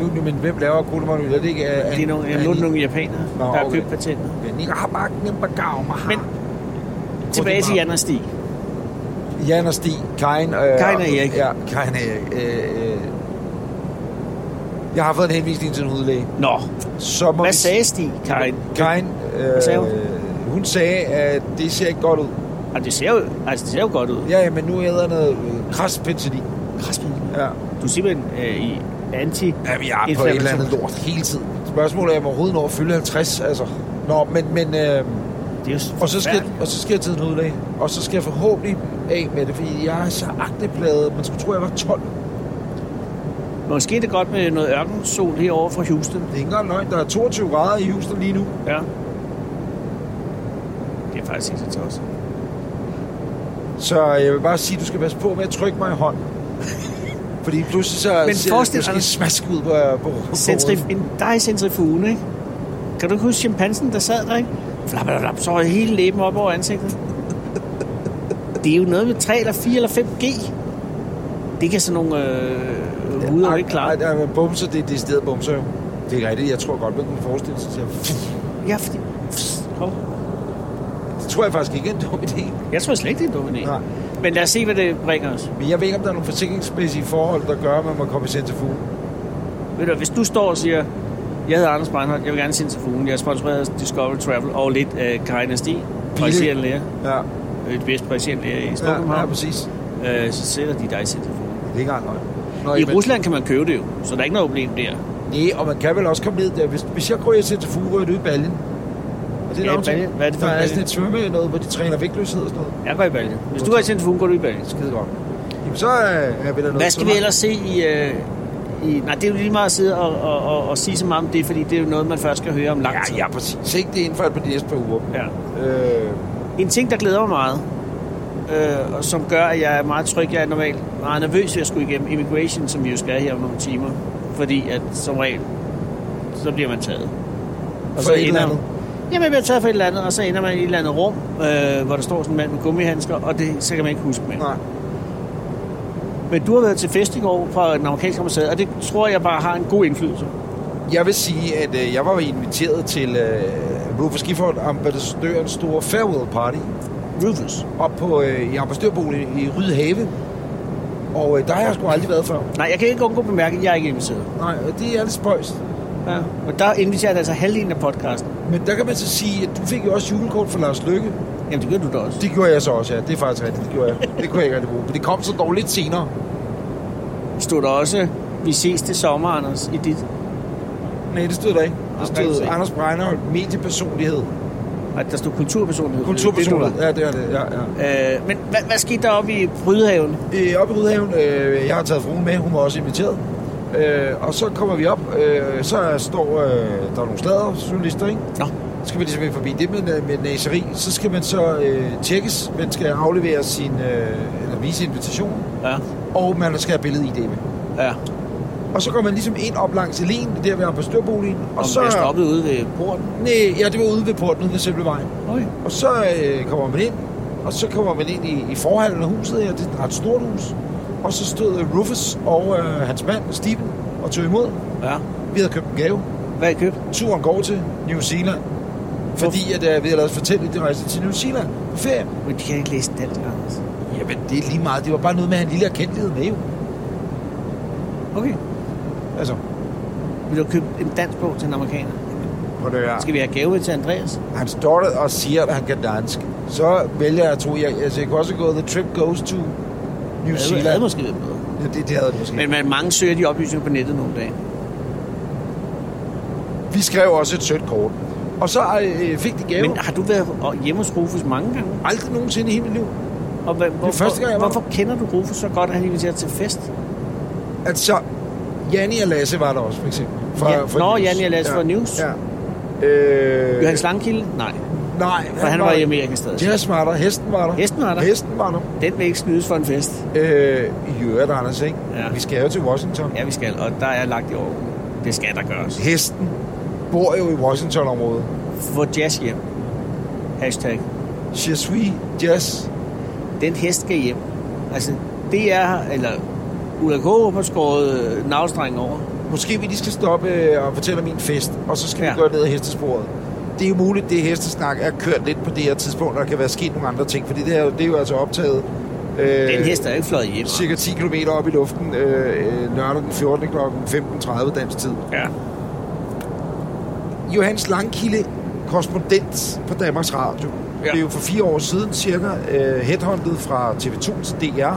Speaker 2: Nu, nu, men hvem laver kodimagnyler? Det er ikke... Uh,
Speaker 3: Det er nogle, jeg lånte nogle japanere,
Speaker 2: Nå,
Speaker 3: der har
Speaker 2: okay.
Speaker 3: købt patentet.
Speaker 2: Men jeg har magten, jeg bagavner.
Speaker 3: Men tilbage til Jan og Stig.
Speaker 2: Jan og Stig, Karin, øh,
Speaker 3: Karin og Erik.
Speaker 2: Ja, Karin og Erik. Øh, øh. Jeg har fået en henvisning til en hudlæge.
Speaker 3: Nå,
Speaker 2: Så må
Speaker 3: hvad
Speaker 2: vi-
Speaker 3: sagde Stig, Karin?
Speaker 2: Karin, øh,
Speaker 3: sagde hun?
Speaker 2: hun sagde, at det ser ikke godt ud.
Speaker 3: Ah, det, ser jo, altså, det ser jo godt ud.
Speaker 2: Ja, ja, men nu æder jeg noget øh, kraspinselin.
Speaker 3: Kraspen,
Speaker 2: Ja.
Speaker 3: Du er simpelthen øh, i anti...
Speaker 2: ja, vi er på et eller andet lort hele tiden. Spørgsmålet er, om jeg overhovedet når at fylde 50, altså. Nå, men, men øh,
Speaker 3: Det er jo
Speaker 2: og, så skal,
Speaker 3: forfærdeligt.
Speaker 2: og så skal jeg til en hudlæge. Og så skal jeg forhåbentlig af med det, fordi jeg er så agtepladet. Man skulle tro, jeg var 12.
Speaker 3: Måske er det godt med noget ørkensol herovre fra Houston.
Speaker 2: Det er ikke engang løgn. Der er 22 grader i Houston lige nu.
Speaker 3: Ja. Det er faktisk ikke så tosset.
Speaker 2: Så jeg vil bare sige, at du skal passe på med at trykke mig i hånden. Fordi pludselig så
Speaker 3: Men
Speaker 2: ser
Speaker 3: forestil
Speaker 2: jeg
Speaker 3: dig-
Speaker 2: måske smask ud på, på, på
Speaker 3: Centrif- en dig centrifugen, ikke? Kan du ikke huske chimpansen, der sad der, ikke? Flap, flap, flap, så var hele læben op over ansigtet. Det er jo noget med 3 eller 4 eller 5G. Det kan sådan nogle øh, ruder jo ikke klare.
Speaker 2: Nej, men bumser, det er decideret bumser jo. Det er rigtigt. Jeg tror godt, man kunne forestille sig. Jeg,
Speaker 3: Ja, fordi... Pst, hov.
Speaker 2: det tror jeg faktisk ikke er en dum idé.
Speaker 3: Jeg tror slet ikke, det er en dum idé.
Speaker 2: Nej.
Speaker 3: Men lad os se, hvad det bringer os.
Speaker 2: Men jeg ved ikke, om der er nogle forsikringsmæssige forhold, der gør, at man må komme i centrifugen.
Speaker 3: Ved du, hvis du står og siger, jeg hedder Anders Brandholt, jeg vil gerne sende til fugen, jeg er sponsoreret af Discovery Travel og lidt af øh, Karin Asti, præsiderende lærer,
Speaker 2: Ja,
Speaker 3: øh, det bedste præsiderende lærer i
Speaker 2: ja, ja
Speaker 3: Storkøbenhavn,
Speaker 2: præcis. Det
Speaker 3: ja, øh, så sætter de dig i centrifugen.
Speaker 2: er ikke engang løgn. Nå,
Speaker 3: I
Speaker 2: jamen,
Speaker 3: Rusland kan man købe det jo, så der er ikke noget problem der.
Speaker 2: Nej, og man kan vel også komme ned der. Hvis, hvis jeg går i centrifugen, går jeg ud i baljen. Og det er
Speaker 3: Ja,
Speaker 2: en aftale.
Speaker 3: baljen. Hvad er det for
Speaker 2: Der
Speaker 3: en
Speaker 2: er
Speaker 3: balje?
Speaker 2: sådan et svømme noget, hvor de træner vægtløshed og sådan noget.
Speaker 3: Jeg går i balje. Hvis du går i telefonen, går du i balje.
Speaker 2: Skide godt. Jamen, så øh, er vi der noget.
Speaker 3: Hvad skal vi ellers se i... Øh, i nej, det er jo lige meget at sidde og, og, og, og sige så meget om det, fordi det er jo noget, man først skal høre om lang tid.
Speaker 2: Ja, ja, præcis. Ikke det er inden for de næste par uger.
Speaker 3: ja.
Speaker 2: Øh,
Speaker 3: En ting, der glæder mig meget, øh, og som gør, at jeg er meget tryg, jeg er normalt meget nervøs ved at skulle igennem immigration, som vi jo skal her om nogle timer, fordi at som regel, så bliver man taget.
Speaker 2: og så et eller andet.
Speaker 3: Jamen, jeg bliver taget for et eller andet, og så ender man i et eller andet rum, øh, hvor der står sådan en mand med gummihandsker, og det, så kan man ikke huske mere.
Speaker 2: Nej.
Speaker 3: Men du har været til fest i går fra den amerikanske ambassade, og det tror jeg bare har en god indflydelse.
Speaker 2: Jeg vil sige, at øh, jeg var inviteret til øh, Rufus Gifford, ambassadørens store farewell party,
Speaker 3: Rufus.
Speaker 2: op på, øh, i ambassadørboligen i Rydhave. Og øh, der har jeg sgu aldrig været før.
Speaker 3: Nej, jeg kan ikke undgå at bemærke, at jeg er ikke inviteret.
Speaker 2: Nej, og det er lidt spøjst.
Speaker 3: Ja. Og der inviterer jeg altså halvdelen af podcasten.
Speaker 2: Men der kan man så sige, at du fik jo også julekort fra Lars Lykke.
Speaker 3: Jamen, det gør du da også.
Speaker 2: Det gjorde jeg så også, ja. Det er faktisk rigtigt, det gjorde jeg. Det kunne jeg ikke rigtig bruge. Men det kom så dog lidt senere.
Speaker 3: Det stod der også, vi ses til sommer, Anders, i dit...
Speaker 2: Nej, det stod der ikke.
Speaker 3: Nej,
Speaker 2: Der
Speaker 3: det
Speaker 2: stod
Speaker 3: er
Speaker 2: Anders Breinholt, mediepersonlighed.
Speaker 3: Ej, der stod kulturpersonlighed.
Speaker 2: Kulturpersonlighed.
Speaker 3: Det
Speaker 2: Ja, det er det. Ja, ja.
Speaker 3: er du da. Øh, men hvad, hvad skete der oppe i Brydhaven?
Speaker 2: øh, op i Rydhaven. Øh, jeg har taget fruen med, hun var også inviteret. Øh, og så kommer vi op, øh, så står øh, der er nogle slader, journalister, ikke?
Speaker 3: Nå.
Speaker 2: Så skal vi ligesom ind forbi det med, med næseri. Så skal man så øh, tjekkes, man skal aflevere sin, øh, eller vise invitation,
Speaker 3: Ja.
Speaker 2: og man skal have billedet ID med.
Speaker 3: Ja.
Speaker 2: Og så går man ligesom ind op langs alene, der ved ambassadørboligen, og,
Speaker 3: Og så...
Speaker 2: så...
Speaker 3: Jeg stoppede ude ved porten.
Speaker 2: Nej, ja, det var ude ved porten ude ved Sæblevejen.
Speaker 3: Okay.
Speaker 2: Og så øh, kommer man ind, og så kommer man ind i, i forhallen af huset her. Det er et ret stort hus. Og så stod øh, Rufus og øh, hans mand, Steven, og tog imod.
Speaker 3: Ja.
Speaker 2: Vi havde købt en gave.
Speaker 3: Hvad har I købt?
Speaker 2: Turen går til New Zealand. Fordi at, øh, vi havde lavet os fortælle, at de rejste til New Zealand på ferie.
Speaker 3: Men de kan ikke læse dansk, Anders.
Speaker 2: Jamen, det er lige meget. Det var bare noget med, at han lille erkendelighed med jo.
Speaker 3: Okay.
Speaker 2: Altså,
Speaker 3: Vil du købe en dansk bog til en amerikaner?
Speaker 2: på det her.
Speaker 3: Skal vi have gave til Andreas?
Speaker 2: Han står der og siger, at han kan dansk. Så vælger jeg at tro, jeg, altså, jeg kunne også gå, the trip goes to New
Speaker 3: Det havde
Speaker 2: Zealand.
Speaker 3: måske været bedre.
Speaker 2: Ja, det, det havde det måske.
Speaker 3: Men man, mange søger de oplysninger på nettet nogle dage.
Speaker 2: Vi skrev også et sødt kort. Og så øh, fik de gaver.
Speaker 3: Men
Speaker 2: Men...
Speaker 3: har du været og- hjemme hos Rufus mange gange?
Speaker 2: Aldrig nogensinde i hele mit liv.
Speaker 3: Og hvad, hvorfor,
Speaker 2: første gang, jeg var Øh.
Speaker 3: hvorfor kender du Rufus så godt, at han inviterer til fest?
Speaker 2: Altså, Janni og Lasse var der også, for eksempel. Fra,
Speaker 3: Ja. Nå, Janni og Lasse
Speaker 2: ja.
Speaker 3: fra News.
Speaker 2: Ja. Øh,
Speaker 3: Johannes Langkilde? Nej,
Speaker 2: Nej,
Speaker 3: for han var i Amerika stadig.
Speaker 2: Jazz var der, hesten var der.
Speaker 3: Hesten var der.
Speaker 2: Hesten var der.
Speaker 3: Den vil ikke snydes for en fest.
Speaker 2: Øh, I øvrigt, Anders, ikke?
Speaker 3: Ja.
Speaker 2: Vi skal jo til Washington.
Speaker 3: Ja, vi skal, og der er lagt i år. Det skal der gøres.
Speaker 2: Hesten bor jo i Washington-området.
Speaker 3: Få jazz hjem. Hashtag.
Speaker 2: Je suis jazz.
Speaker 3: Den hest skal hjem. Altså, det er, eller Ulla Kåre har skåret øh, navlstrengen over.
Speaker 2: Måske vi lige skal stoppe øh, og fortælle om min fest, og så skal ja.
Speaker 3: Ja.
Speaker 2: vi gøre ned ad hestesporet. Det er jo muligt, det hestesnak er kørt lidt på det her tidspunkt, og der kan være sket nogle andre ting, fordi det, her, det er jo altså optaget øh,
Speaker 3: Den hest er ikke fløjet hjem.
Speaker 2: cirka 10 km op i luften øh, øh, lørdag den 14. kl. 15.30 dansk tid.
Speaker 3: Ja.
Speaker 2: Johannes Langkilde, korrespondent på Danmarks Radio, ja.
Speaker 3: Ja.
Speaker 2: blev for fire år siden cirka øh, headhunted fra TV2 til DR
Speaker 3: ja.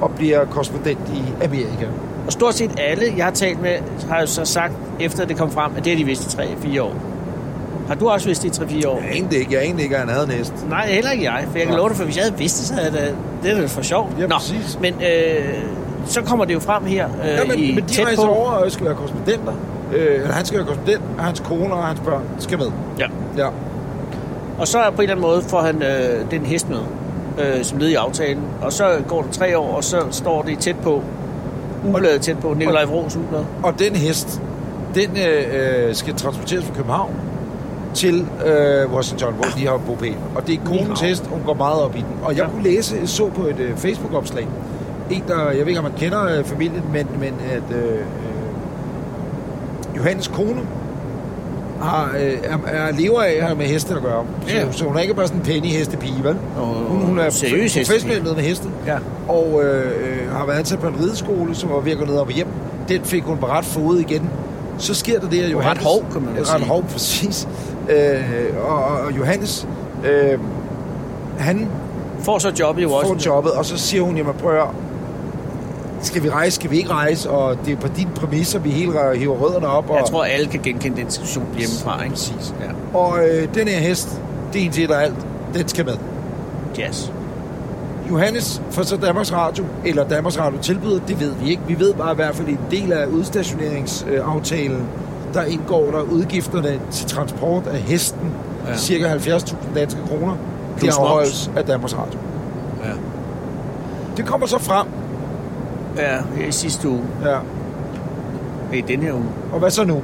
Speaker 2: og bliver korrespondent i Amerika.
Speaker 3: Og stort set alle, jeg har talt med, har jo så sagt, efter det kom frem, at det har de vidst i 3-4 år. Har du også vidst det i 3-4 år?
Speaker 2: Jeg anede ikke, jeg anede ikke, at han havde næst.
Speaker 3: Nej, heller ikke jeg, for jeg kan
Speaker 2: Nå.
Speaker 3: love dig, for hvis jeg havde vidst det, så havde det, det er da for sjovt.
Speaker 2: Ja, præcis.
Speaker 3: men øh, så kommer det jo frem her øh,
Speaker 2: Ja, men,
Speaker 3: i
Speaker 2: men de
Speaker 3: tæt
Speaker 2: rejser
Speaker 3: på.
Speaker 2: over og skal være korrespondenter. Øh, eller han skal være korrespondent, og hans kone og hans børn skal med.
Speaker 3: Ja.
Speaker 2: Ja.
Speaker 3: Og så på en eller anden måde får han øh, den hest med, øh, som led i aftalen. Og så går det tre år, og så står det tæt på. Ubladet tæt på. Nikolaj Vrås ublad.
Speaker 2: Mm. Og den hest, den øh, øh, skal transporteres fra København til øh, Washington, hvor de har bopæl. Og det er konens
Speaker 3: Ni hao.
Speaker 2: hest, hun går meget op i den. Og jeg
Speaker 3: Ja.
Speaker 2: kunne læse, så på et øh, Facebook-opslag, en der, jeg ved ikke om man kender øh, familien, men, men at øh, øh, Johannes kone har, øh, er, er lever af at have med heste at gøre. Så,
Speaker 3: Ja.
Speaker 2: så hun er ikke bare sådan en penny-hestepige, vel?
Speaker 3: Åh,
Speaker 2: Hun, hun er
Speaker 3: seriøs
Speaker 2: professionel
Speaker 3: hestepige.
Speaker 2: med heste
Speaker 3: Ja.
Speaker 2: og øh, øh, har været ansat på en rideskole, som var ved at gå ned og hjem. Den fik hun på ret fod igen. Så sker der det, at Johannes...
Speaker 3: ret hård, kan man vel
Speaker 2: Ret
Speaker 3: sige.
Speaker 2: hård, præcis. Øh, og, og, og Johannes, øh, han
Speaker 3: Får så job i
Speaker 2: får
Speaker 3: Washington.
Speaker 2: jobbet, og så siger hun, jamen prøv at høre, skal vi rejse, skal vi ikke rejse? Og det er på dine præmisser, vi hele hiver rødderne op. Og,
Speaker 3: Jeg tror, alle kan genkende den diskussion hjemmefra, ikke?
Speaker 2: Præcis.
Speaker 3: Ja.
Speaker 2: og øh, den her hest, det er en til der alt, den skal med.
Speaker 3: Jazz.
Speaker 2: Johannes fra så Danmarks Radio, eller Danmarks Radio tilbyder, det ved vi ikke. Vi ved bare i hvert fald, at en del af udstationeringsaftalen, der indgår der udgifterne til transport af hesten, ja.
Speaker 3: Ja.
Speaker 2: cirka 70.000 danske kroner, det
Speaker 3: Plus
Speaker 2: afholdes af Danmarks Radio.
Speaker 3: Ja.
Speaker 2: Det kommer så frem,
Speaker 3: Ja, her i sidste uge.
Speaker 2: ja.
Speaker 3: Det er den her uge.
Speaker 2: og hvad så nu?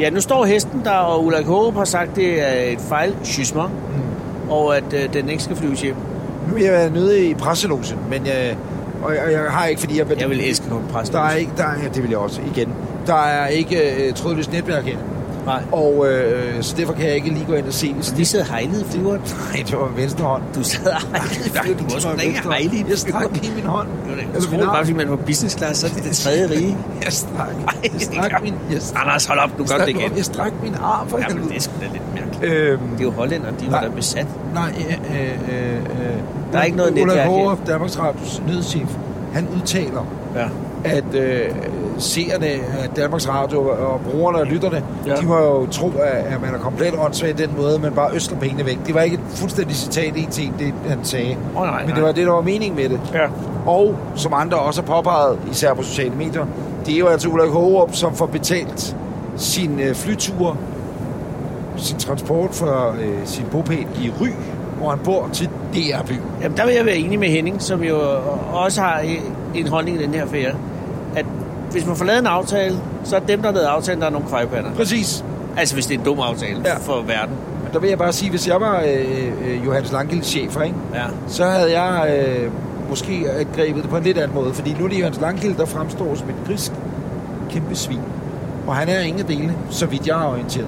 Speaker 3: Ja, nu står hesten der, og Ulla Kåre har sagt, det er et fejl schismont, mm.
Speaker 2: Hmm.
Speaker 3: og at øh, den ikke skal flyves hjem.
Speaker 2: Nu er jeg nede i presselogen, men jeg, og, jeg, og jeg har ikke, fordi jeg...
Speaker 3: Jeg vil elske at komme på
Speaker 2: Der er
Speaker 3: pressemøde.
Speaker 2: ikke, der er, ja, det vil jeg også, igen. Der er ikke øh, trådløst netværk her,
Speaker 3: Nej.
Speaker 2: og øh, så derfor kan jeg ikke lige gå ind og se, hvis
Speaker 3: Vi sidder hejlede flyver.
Speaker 2: Nej, det var med venstre hånd.
Speaker 3: Du sidder hejlede flyver. Du må sgu da ikke hejle i
Speaker 2: Jeg stak lige min hånd.
Speaker 3: Jeg
Speaker 2: min
Speaker 3: troede bare,
Speaker 2: arm.
Speaker 3: fordi man var business class, så er det det tredje rige.
Speaker 2: Jeg stak. Jeg
Speaker 3: det
Speaker 2: stak
Speaker 3: gør-
Speaker 2: min... Jeg stak,
Speaker 3: Anders, hold op, du gør det igen.
Speaker 2: jeg strak min arm for
Speaker 3: Jamen,
Speaker 2: helvede.
Speaker 3: det er sgu da lidt mærkeligt.
Speaker 2: Øhm,
Speaker 3: Det er jo hollænder, de var
Speaker 2: Nej.
Speaker 3: da besat.
Speaker 2: nej, øh, øh, øh,
Speaker 3: Der er ikke noget
Speaker 2: Ulla
Speaker 3: netværk her.
Speaker 2: Hårup, Danmarks Radios nyhedschef, han udtaler,
Speaker 3: Ja.
Speaker 2: at øh, seerne af Danmarks Radio og brugerne og lytterne, ja.
Speaker 3: Ja.
Speaker 2: de må jo tro, at, at man er komplet åndssvag i den måde, man bare øster pengene væk. Det var ikke et fuldstændig citat en til en, det han sagde.
Speaker 3: Åh, oh, nej,
Speaker 2: Men det var det, der var meningen med det.
Speaker 3: Ja.
Speaker 2: Og som andre også har påpeget, især på sociale medier, det er jo altså Ulrik Hårup, som får betalt sin øh, flytur, sin transport fra øh, sin bopæl i Ry, hvor han bor til DR-by.
Speaker 3: Jamen, der vil jeg være enig med Henning, som jo også har øh, en holdning i den her affære, at hvis man får lavet en aftale, så er dem, der har lavet aftalen, der er nogle krejpander.
Speaker 2: Præcis.
Speaker 3: Altså, hvis det er en dum aftale
Speaker 2: Ja.
Speaker 3: ja. for verden.
Speaker 2: Der vil jeg bare sige, hvis jeg var øh, øh, Johannes Langkildes chef, ikke?
Speaker 3: Ja.
Speaker 2: så havde jeg øh, måske øh, grebet det på en lidt anden måde. Fordi nu er det Jørgens Langkilde, der fremstår som et grisk kæmpe svin. Og han er ingen dele, så vidt jeg er orienteret.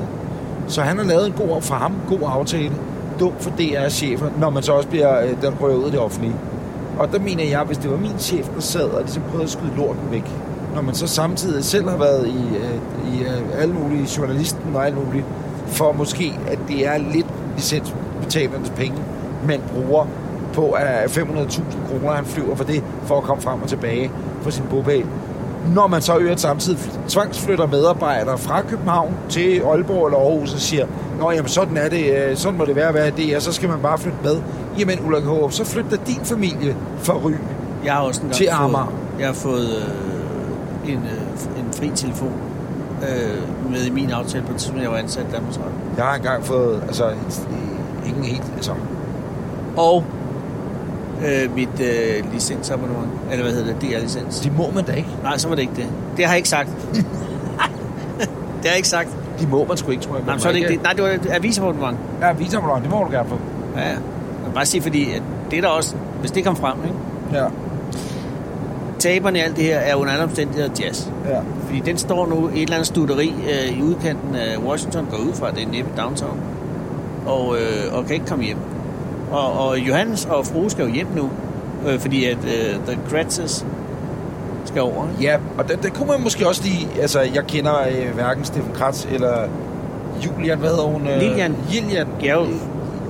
Speaker 2: Så han har lavet en god, for ham god aftale. Dum for DR-chefer, når man så også bliver øh, den rører ud af det offentlige. Og der mener jeg, hvis det var min chef, der sad og ligesom prøvede at skyde lorten væk, når man så samtidig selv har været i, øh, i øh, alle mulige journalisten og alt muligt, for måske, at det er lidt licensbetalernes penge, man bruger på at 500.000 kroner, han flyver for det, for at komme frem og tilbage på sin bopæl. når man så øvrigt samtidig tvangsflytter medarbejdere fra København til Aalborg eller Aarhus og siger, Nå, jamen sådan er det, øh, sådan må det være at være det, og så skal man bare flytte med. Jamen, Ulla Kåre, så flytter din familie fra Ry.
Speaker 3: Jeg har også engang
Speaker 2: Til
Speaker 3: fået,
Speaker 2: Amager.
Speaker 3: Jeg har fået øh, en, øh, en fri telefon øh, med i min aftale på det tidspunkt, jeg var ansat i Danmarks Radio.
Speaker 2: Jeg har engang fået, altså, øh, ingen helt, altså,
Speaker 3: Og øh, mit øh, licensabonnement, eller hvad hedder det, DR-licens.
Speaker 2: det må man da ikke.
Speaker 3: Nej, så var det ikke det. Det har jeg ikke sagt. det har jeg ikke sagt.
Speaker 2: De må man sgu ikke, tror jeg.
Speaker 3: Nej, så er det ikke det. Nej, det var et avisabonnement.
Speaker 2: Ja, visammerløgn, det må du gerne få.
Speaker 3: Ja, ja. Jeg vil bare sige, fordi at det er der også, hvis det kom frem, ikke?
Speaker 2: Ja,
Speaker 3: Taberne i alt det her er under alle omstændigheder jazz.
Speaker 2: ja.
Speaker 3: Fordi den står nu i et eller andet studeri øh, i udkanten af Washington, går ud fra, det er næppe downtown, og, øh, og kan ikke komme hjem. Og, og Johannes og Fru skal jo hjem nu, øh, fordi at øh, The Kratzes skal over. ikke?
Speaker 2: Ja, og der, der kunne man måske også lige... Altså, jeg kender øh, hverken Steffen Kratz eller Julian, hvad hedder hun? Øh,
Speaker 3: Lilian.
Speaker 2: Lilian.
Speaker 3: Gjerulf.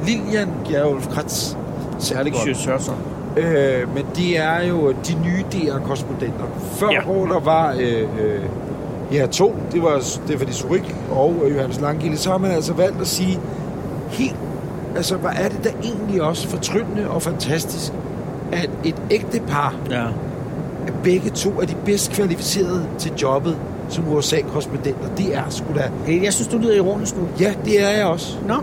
Speaker 2: Lilian Gjerulf Kratz. Særlig godt.
Speaker 3: Sjøsørser.
Speaker 2: Øh, men det er jo de nye DR-korrespondenter. Før
Speaker 3: Ja.
Speaker 2: ja. hvor der var... Øh, øh, ja, to. Det var Stefanie Surik og øh, Johannes Langkilde. Så har man altså valgt at sige helt... Altså, hvad er det da egentlig også fortryllende og fantastisk, at et ægte par
Speaker 3: Ja.
Speaker 2: at begge to er de bedst kvalificerede til jobbet som USA-korrespondenter. Det er sgu da...
Speaker 3: Hey, Jeg synes, du lyder ironisk nu.
Speaker 2: Ja, det er jeg også.
Speaker 3: Nå.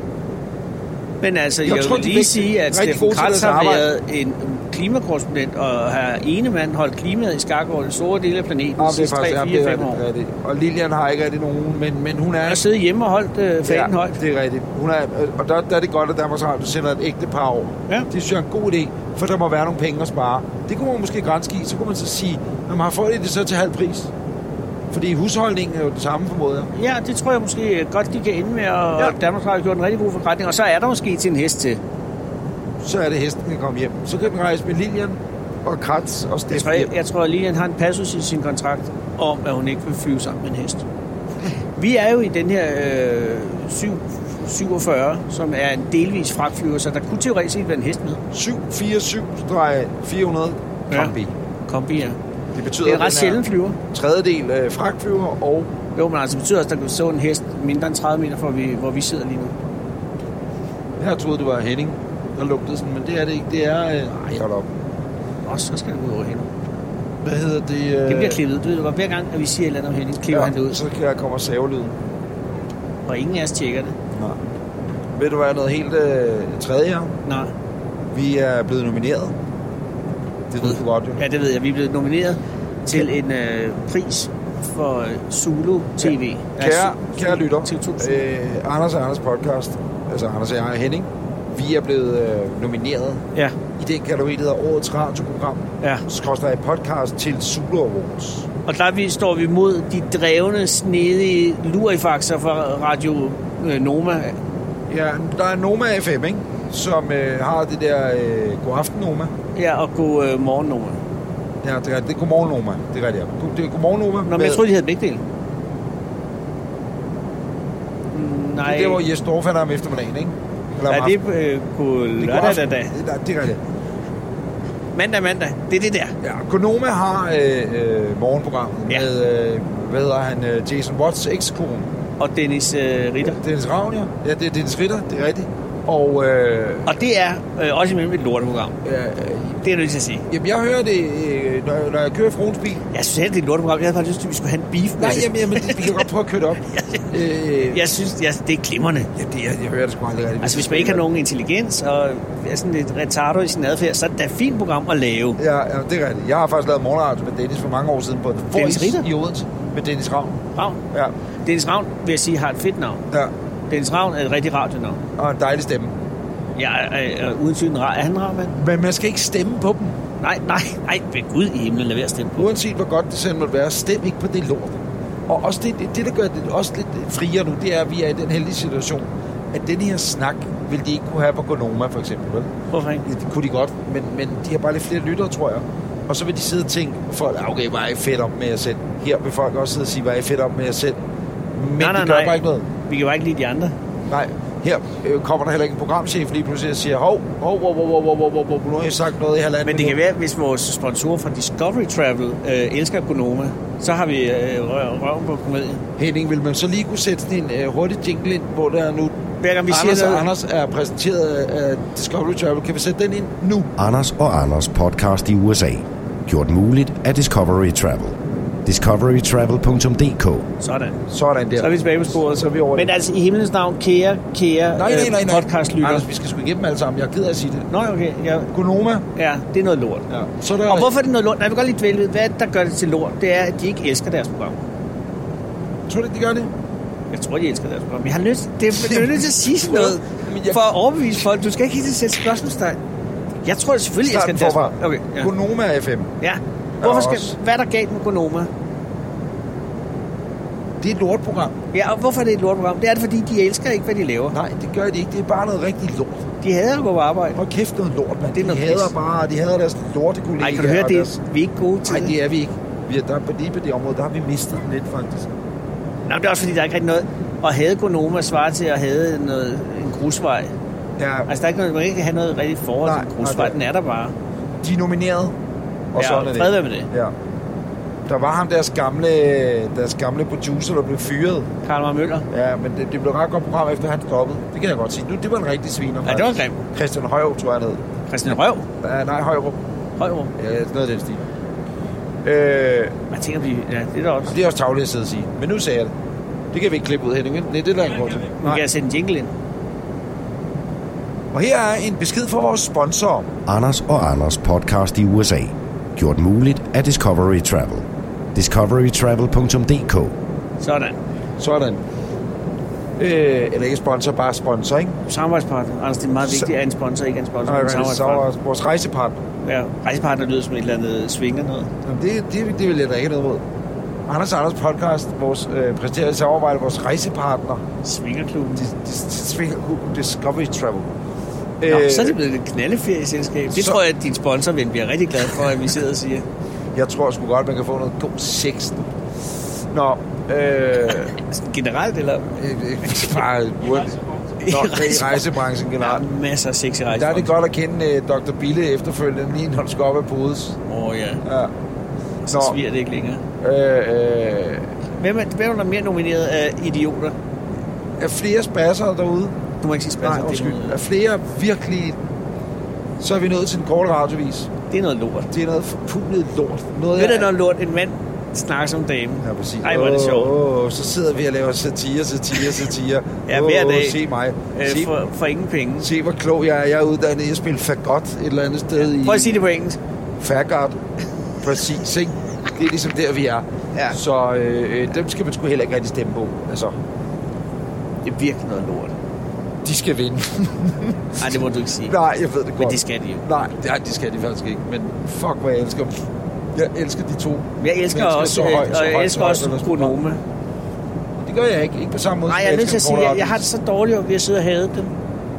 Speaker 3: Men altså, jeg,
Speaker 2: Jeg
Speaker 3: jeg
Speaker 2: tror,
Speaker 3: vil
Speaker 2: de
Speaker 3: lige
Speaker 2: er
Speaker 3: sige, at
Speaker 2: rigtig
Speaker 3: Steffen
Speaker 2: gode til
Speaker 3: Kratz
Speaker 2: deres
Speaker 3: har
Speaker 2: arbejde.
Speaker 3: været en klimakorrespondent, og har ene mand holdt klimaet i skak over det store dele af
Speaker 2: Ah,
Speaker 3: planeten de sidste 3, 4, 5 år.
Speaker 2: rigtigt. Og Lilian har ikke rigtig nogen, men, men hun er...
Speaker 3: Og siddet hjemme og holdt øh, fanen højt.
Speaker 2: det er rigtigt. Hun er, og der, der er det godt, at Danmarks Radio sender et ægte par over.
Speaker 3: Ja.
Speaker 2: Det synes jeg er en god idé, for der må være nogle penge at spare. Det kunne man måske grænske i. Så kunne man så sige, at man har fået det så til halv pris. Fordi husholdningen er jo det samme, formoder jeg.
Speaker 3: Ja, det tror jeg måske godt, de kan ende med, og ja.
Speaker 2: Ja.
Speaker 3: Danmarks Radio har gjort en rigtig god forretning. Og så er der måske til en hest til.
Speaker 2: Så er det hesten, der kommer hjem. Så kan den rejse med Lilian og Kratz og
Speaker 3: Jeg
Speaker 2: Steffen
Speaker 3: tror, jeg,
Speaker 2: hjem.
Speaker 3: jeg tror lige, han har en passus i sin kontrakt om, at hun ikke vil flyve sammen med en hest. Vi er jo i den her øh, 7, 47, som er en delvis fragtflyver, så der kunne teoretisk set være en hest med.
Speaker 2: 747-400
Speaker 3: Ja.
Speaker 2: kombi.
Speaker 3: Kombi, ja.
Speaker 2: Det betyder,
Speaker 3: Det er en
Speaker 2: at
Speaker 3: ret
Speaker 2: den
Speaker 3: sjældent flyver.
Speaker 2: tredjedel øh, fragtflyver, og
Speaker 3: Jo, men altså det betyder også, at der kunne stå en hest mindre end 30 meter fra, vi, hvor vi sidder lige nu.
Speaker 2: jeg troede, det var Henning, der lugtede sådan, men det er det ikke. Det er... Øh, nej, hold op.
Speaker 3: Og så skal det gå ud over hende.
Speaker 2: Hvad hedder det? Øh,
Speaker 3: Det bliver klippet ud. Du ved jo godt, hver gang, at vi siger et eller andet om hende, klipper ja. han det ud.
Speaker 2: Så kan jeg komme og save lyden.
Speaker 3: Og ingen af os tjekker det.
Speaker 2: Nej. Ved du hvad, noget helt øh, tredje her?
Speaker 3: Nej.
Speaker 2: Vi er blevet nomineret. Det ved du godt, jo.
Speaker 3: Ja, det ved jeg. Vi er blevet nomineret til en øh, pris for øh, Zulu TV. Ja.
Speaker 2: Kære, kære lytter,
Speaker 3: TV2 Zulu.
Speaker 2: øh, Anders og Anders podcast, altså Anders og jeg og Henning, vi er blevet øh, nomineret
Speaker 3: Ja,
Speaker 2: i den kategori, der hedder Årets Radioprogram,
Speaker 3: ja.
Speaker 2: skorstræk podcast til Sula Awards.
Speaker 3: Og der vi, står vi mod de drevne, snedige lurifaxer fra Radio øh, Noma.
Speaker 2: Ja, der er Noma FM, ikke? Som øh, har det der øh, god aften Noma.
Speaker 3: Ja, og god øh, morgen Noma.
Speaker 2: Ja, det er, det er godmorgen Noma. Det er rigtigt. ja. God, det er godmorgen Noma.
Speaker 3: Nå, men jeg troede, de havde begge dele. Mm,
Speaker 2: det
Speaker 3: nej.
Speaker 2: er der, hvor Jes Dorf er der om eftermiddagen, ikke? Eller om
Speaker 3: Ja,
Speaker 2: aftenen.
Speaker 3: det er øh, på
Speaker 2: Det er
Speaker 3: lørdag, da, da.
Speaker 2: aften. Det er- Det er rigtigt.
Speaker 3: Mandag, mandag. Det er det der.
Speaker 2: Ja, Konoma har øh, øh, morgenprogrammet
Speaker 3: Ja.
Speaker 2: ja. med, øh, hvad hedder han, øh, Jason Watts ekskone.
Speaker 3: Og Dennis øh, Ritter.
Speaker 2: Dennis Ravn, ja. Ja, det er Dennis Ritter, det er rigtigt. Og øh,
Speaker 3: Og det er øh, også imellem et lorteprogram.
Speaker 2: øh,
Speaker 3: Det er jeg nødt til at sige.
Speaker 2: jamen, jeg hører det, øh, når, når jeg kører i fruens bil.
Speaker 3: Jeg synes heller, det er et lorteprogram. Jeg havde bare lyst til, at vi skulle have en beef med
Speaker 2: Nej,
Speaker 3: det.
Speaker 2: jamen, jamen det, vi kan godt prøve at køre det op. øh,
Speaker 3: Jeg synes, jeg, det er glimrende.
Speaker 2: Ja, det, jeg, jeg hører det sgu aldrig rigtigt.
Speaker 3: Altså, hvis man ikke har nogen intelligens og er sådan lidt retardo i sin adfærd, så er det da et fint program at lave.
Speaker 2: Ja, ja, det er rigtigt. Jeg har faktisk lavet morgenradio med Dennis for mange år siden på The
Speaker 3: Dennis
Speaker 2: Voice
Speaker 3: Ritter?
Speaker 2: i Odense med Dennis Ravn.
Speaker 3: Ravn.
Speaker 2: Ja,
Speaker 3: Dennis Ravn, vil jeg sige, har et fedt navn.
Speaker 2: ja.
Speaker 3: Dennis Ravn er et rigtig radionavn.
Speaker 2: Og en dejlig stemme.
Speaker 3: Jeg er, er, er uden tvivl en rar. Er han rar, mand?
Speaker 2: Men man skal ikke stemme på dem.
Speaker 3: Nej, nej, nej. Ved Gud i himlen, lad være at stemme på.
Speaker 2: Uanset hvor godt det selv måtte være, stem ikke på det lort. Og også det, det, det der gør det også lidt friere nu, det er, at vi er i den heldige situation, at den her snak vil de ikke kunne have på Gonoma, for eksempel. Vel?
Speaker 3: Hvorfor ikke?
Speaker 2: Det kunne de godt, men, men de har bare lidt flere lyttere, tror jeg. Og så vil de sidde og tænke, folk, "Ah, okay, hvor er I fedt op med jer selv. Her vil folk også sidde og sige, hvor er I fedt op med jer selv. Men nej,
Speaker 3: Nej, nej,
Speaker 2: det gør
Speaker 3: nej.
Speaker 2: bare ikke noget.
Speaker 3: Vi kan bare ikke lide de andre.
Speaker 2: Nej, Her øh, kommer der heller ikke en programchef lige pludselig og siger, hov, hov, hov, hov, hov, hov, hov, hov, hov, nu har jeg sagt noget i halvanden
Speaker 3: Men det kan
Speaker 2: minut."
Speaker 3: være, at hvis vores sponsorer fra Discovery Travel øh, elsker Gonoma, så har vi øh, rø- røven på komedien.
Speaker 2: Henning, vil man så lige kunne sætte sådan en øh, hurtig jingle ind, hvor der er nu...
Speaker 3: Hver gang vi
Speaker 2: Anders
Speaker 3: siger
Speaker 2: og
Speaker 3: noget...
Speaker 2: Anders er præsenteret af Discovery Travel. Kan vi sætte den ind nu?
Speaker 1: Anders og Anders podcast i USA. Gjort muligt af Discovery Travel. discoverytravel.dk
Speaker 3: Sådan.
Speaker 2: Sådan der.
Speaker 3: Så er vi tilbage på sporet.
Speaker 2: Så er vi over
Speaker 3: Men
Speaker 2: det.
Speaker 3: altså, i himlens navn, kære, kære øh,
Speaker 2: Nej, nej, nej, nej.
Speaker 3: podcastlytter.
Speaker 2: Anders, vi skal sgu igennem alle sammen. Jeg er ked af at sige det.
Speaker 3: Nå, okay. Ja,
Speaker 2: Gonoma.
Speaker 3: ja, det er noget lort.
Speaker 2: Ja. Så er der...
Speaker 3: Og hvorfor er det noget lort? Nej, jeg vil godt lige dvæle ved, hvad der gør det til lort. Det er, at de ikke elsker deres program.
Speaker 2: Tror du ikke, de gør det?
Speaker 3: Jeg tror, de elsker deres program. Jeg har lyst, det er, jeg er nødt til at sige sådan
Speaker 2: Jamen,
Speaker 3: noget,
Speaker 2: men jeg-
Speaker 3: for at overbevise folk. Du skal ikke hele tiden sætte spørgsmålstegn. Jeg tror selvfølgelig, jeg
Speaker 2: Start
Speaker 3: skal
Speaker 2: den
Speaker 3: deres
Speaker 2: forfra.
Speaker 3: Okay, ja.
Speaker 2: Gonoma FM.
Speaker 3: ja. Hvorfor
Speaker 2: Og
Speaker 3: skal,
Speaker 2: også-
Speaker 3: hvad er der galt med Gonoma?
Speaker 2: Det er et lortprogram.
Speaker 3: Ja, og hvorfor er det et lortprogram? Det er det, fordi de elsker ikke, hvad de laver.
Speaker 2: Nej, det gør de ikke. Det er bare noget rigtig lort.
Speaker 3: De hader at gå på arbejde.
Speaker 2: Hold kæft noget lort, mand.
Speaker 3: Det er
Speaker 2: de
Speaker 3: noget
Speaker 2: hader
Speaker 3: pis.
Speaker 2: bare, de hader deres lortekollegaer.
Speaker 3: Nej, kan du høre
Speaker 2: og Deres...
Speaker 3: det? Vi er ikke gode til
Speaker 2: Nej, det er vi ikke. Vi er der, på- lige på det område, der har vi mistet den lidt, faktisk.
Speaker 3: Nå, men det er også fordi, der er ikke rigtig noget. At have Gonoma svarer til at have noget, en grusvej.
Speaker 2: Ja,
Speaker 3: Altså, der er ikke noget, man kan ikke have noget rigtigt forhold
Speaker 2: Nej,
Speaker 3: til en
Speaker 2: nej,
Speaker 3: grusvej.
Speaker 2: det-
Speaker 3: Den er der bare.
Speaker 2: de er nomineret. Og
Speaker 3: Ja,
Speaker 2: sådan er det.
Speaker 3: fred være med det.
Speaker 2: Ja. Der var ham deres gamle, deres gamle producer, der blev fyret.
Speaker 3: Karl Mar Møller.
Speaker 2: Ja, men det, det blev et ret godt program, efter han stoppede. Det kan jeg godt sige. Nu, det var en rigtig sviner.
Speaker 3: Ja, det var
Speaker 2: faktisk.
Speaker 3: grimt.
Speaker 2: Christian Højrup, tror jeg, han hed.
Speaker 3: Christian Røv.
Speaker 2: Ja, nej, Højrup.
Speaker 3: Højrup.
Speaker 2: Ja, sådan noget af den stil. Øh,
Speaker 3: Man tænker, at blive... Ja, det er der også.
Speaker 2: det er også tavligt at sidde og sige. Men nu sagde jeg det. Det kan vi ikke klippe ud, Henning. vel? Nej, det er der ingen grund til.
Speaker 3: Nu kan
Speaker 2: Nej.
Speaker 3: jeg sætte en jingle ind.
Speaker 2: Og her er en besked fra vores sponsor.
Speaker 1: Anders og Anders podcast i USA. Gjort muligt af Discovery Travel. discoverytravel.dk
Speaker 3: Sådan.
Speaker 2: Sådan. Øh, eller ikke sponsor, bare sponsor, ikke?
Speaker 3: Samarbejdspartner. Anders, det er meget
Speaker 2: Så-
Speaker 3: vigtigt, at en sponsor ikke er en sponsor.
Speaker 2: Nej,
Speaker 3: men en
Speaker 2: okay, så
Speaker 3: samarbejdspartner.
Speaker 2: er vores rejsepartner.
Speaker 3: Ja, rejsepartner lyder som et eller andet svinger noget.
Speaker 2: Jamen, det, det, det vil jeg da ikke have noget mod. Anders og Anders podcast, vores øh, præsterede i samarbejde, vores rejsepartner,
Speaker 3: Svingerklubben.
Speaker 2: de, de, de svinger Hugo Discovery Travel. Øh,
Speaker 3: Nå, så er det blevet et knaldeferieselskab. Det
Speaker 2: så-
Speaker 3: tror jeg, at din sponsorven bliver rigtig glad for, at vi sidder og siger.
Speaker 2: Jeg tror sgu godt, man kan få noget god sex. nu. Nå, øh,
Speaker 3: Sådan altså, Generelt, eller?
Speaker 2: Øh, øh, bare hurtigt. Nå, i rejsebranchen generelt.
Speaker 3: Der er masser af sex i
Speaker 2: Der er
Speaker 3: rejsebranchen.
Speaker 2: det godt at kende øh, Dr. Bille efterfølgende, lige når du skal op ad podes.
Speaker 3: Åh oh, ja,
Speaker 2: Ja.
Speaker 3: så
Speaker 2: Nå,
Speaker 3: sviger det ikke længere.
Speaker 2: øh, øh,
Speaker 3: Hvem er, hvem er der mere nomineret af idioter?
Speaker 2: er flere spasser derude?
Speaker 3: Du må ikke sige
Speaker 2: Nej,
Speaker 3: spansk.
Speaker 2: undskyld.
Speaker 3: det, er
Speaker 2: Er
Speaker 3: noget,
Speaker 2: flere virkelig... Så er vi nået til en kort radiovis.
Speaker 3: det er noget lort.
Speaker 2: Det er noget forpulet lort. Noget,
Speaker 3: Ved du,
Speaker 2: jeg-
Speaker 3: noget lort? En mand snakker som dame.
Speaker 2: Ja, præcis.
Speaker 3: Ej, hvor er det sjovt.
Speaker 2: Åh, så sidder vi og laver satire, satire, satire.
Speaker 3: Ja,
Speaker 2: Åh,
Speaker 3: hver dag.
Speaker 2: Se mig.
Speaker 3: Øh,
Speaker 2: Se,
Speaker 3: for, for ingen penge.
Speaker 2: se, hvor klog jeg er. Jeg er uddannet i at spille fagot et eller andet sted i...
Speaker 3: Prøv at sige det på engelsk.
Speaker 2: Faggard. Præcis, ikke? Det er ligesom der, vi er.
Speaker 3: Ja.
Speaker 2: Så øh, øh, dem skal man sgu heller ikke rigtig stemme på. Altså,
Speaker 3: Det er virkelig noget lort.
Speaker 2: de skal vinde.
Speaker 3: Nej, det må du ikke sige.
Speaker 2: Nej, jeg ved det godt.
Speaker 3: Men det skal de jo.
Speaker 2: Nej, det, nej, det skal de faktisk ikke. Men fuck, hvor jeg elsker dem. Jeg elsker de to.
Speaker 3: Men Jeg elsker
Speaker 2: mennesker
Speaker 3: også,
Speaker 2: så højt,
Speaker 3: øh,
Speaker 2: så
Speaker 3: og jeg
Speaker 2: højt, så
Speaker 3: elsker
Speaker 2: højt,
Speaker 3: også
Speaker 2: eller så højt.
Speaker 3: Gronome.
Speaker 2: Det gør jeg ikke. Ikke på samme måde.
Speaker 3: Nej,
Speaker 2: som
Speaker 3: jeg er nødt til at
Speaker 2: elsker
Speaker 3: sige,
Speaker 2: Paul
Speaker 3: at jeg har det
Speaker 2: Atkins.
Speaker 3: så dårligt over, at jeg sidder og hader dem.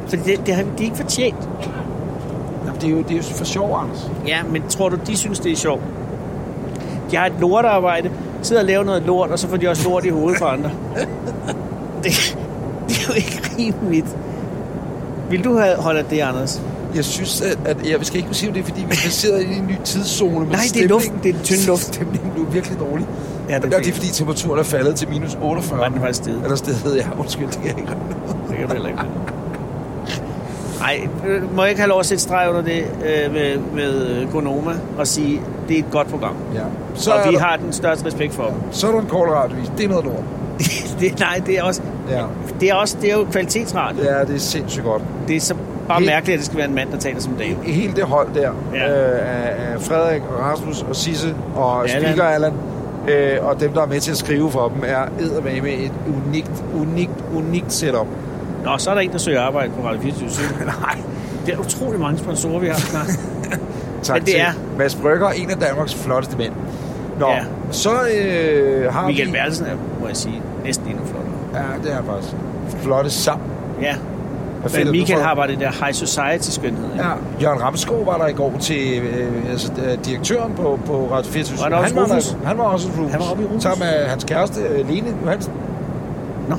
Speaker 3: Fordi det, det har de er ikke fortjent.
Speaker 2: Jamen, det, er jo, det er jo for sjov, Anders.
Speaker 3: Ja, men tror du, de synes, det er sjovt? De har et lortarbejde, sidder og laver noget lort, og så får de også lort i hovedet for andre. Det, det er jo ikke rimeligt. Vil du have holdt af det, Anders?
Speaker 2: Jeg synes, at, at jeg skal ikke kunne sige, om det er, fordi vi er placeret i en ny tidszone. Men
Speaker 3: Nej, det er
Speaker 2: stemningen-
Speaker 3: luften. Det er den tynde luft.
Speaker 2: Stemningen blev virkelig dårlig.
Speaker 3: Ja, det er
Speaker 2: det, er, det er,
Speaker 3: fint.
Speaker 2: fordi temperaturen er faldet til minus 48.
Speaker 3: Var den faktisk steget?
Speaker 2: Eller stedet, ja. Undskyld, det kan jeg ikke regne ud.
Speaker 3: Det kan du heller ikke. Nej, må jeg ikke have lov at sætte streg under det øh, med, med Gonoma og sige, det er et godt program.
Speaker 2: Ja. Så,
Speaker 3: Så og
Speaker 2: er
Speaker 3: vi
Speaker 2: der,
Speaker 3: har den største respekt for dem.
Speaker 2: så er der en kort radiovis. Det er noget lort.
Speaker 3: det, nej, det er, også,
Speaker 2: Ja.
Speaker 3: det er også det er jo kvalitetsradio. Ja.
Speaker 2: ja, det er sindssygt godt.
Speaker 3: Det er så bare
Speaker 2: Helt-
Speaker 3: mærkeligt, at det skal være en mand, der taler som dame.
Speaker 2: Hele det hold der,
Speaker 3: Ja.
Speaker 2: ja. øh, af- af Frederik og Rasmus og Sisse og
Speaker 3: Allan.
Speaker 2: Speaker Allan, øh, og dem, der er med til at skrive for dem, er eddermame et unikt, unikt, unikt setup.
Speaker 3: Nå, så er der en, der søger arbejde på Radio 24 Nej. Det er utrolig mange sponsorer, vi har snart.
Speaker 2: Tak
Speaker 3: Men det
Speaker 2: til
Speaker 3: er-
Speaker 2: Mads Brygger, en af Danmarks flotteste mænd. Nå,
Speaker 3: Ja.
Speaker 2: ja. så øh, har
Speaker 3: Michael
Speaker 2: vi...
Speaker 3: Bertelsen er, må jeg sige, næsten endnu flottere.
Speaker 2: Ja, det er han faktisk. Flotte sammen.
Speaker 3: Ja,
Speaker 2: Hvad fedt, at
Speaker 3: men
Speaker 2: du
Speaker 3: Michael
Speaker 2: får-
Speaker 3: har bare det der high society-skønhed. ikke?
Speaker 2: Ja, Jørgen Ramskov var der i går til øh, altså, øh, direktøren på, på Radio 24.
Speaker 3: Var han også
Speaker 2: var,
Speaker 3: Rufus?
Speaker 2: der- han var også Rufus.
Speaker 3: Han var oppe i Rufus.
Speaker 2: Sammen med hans kæreste, øh, Lene Johansen.
Speaker 3: Nå,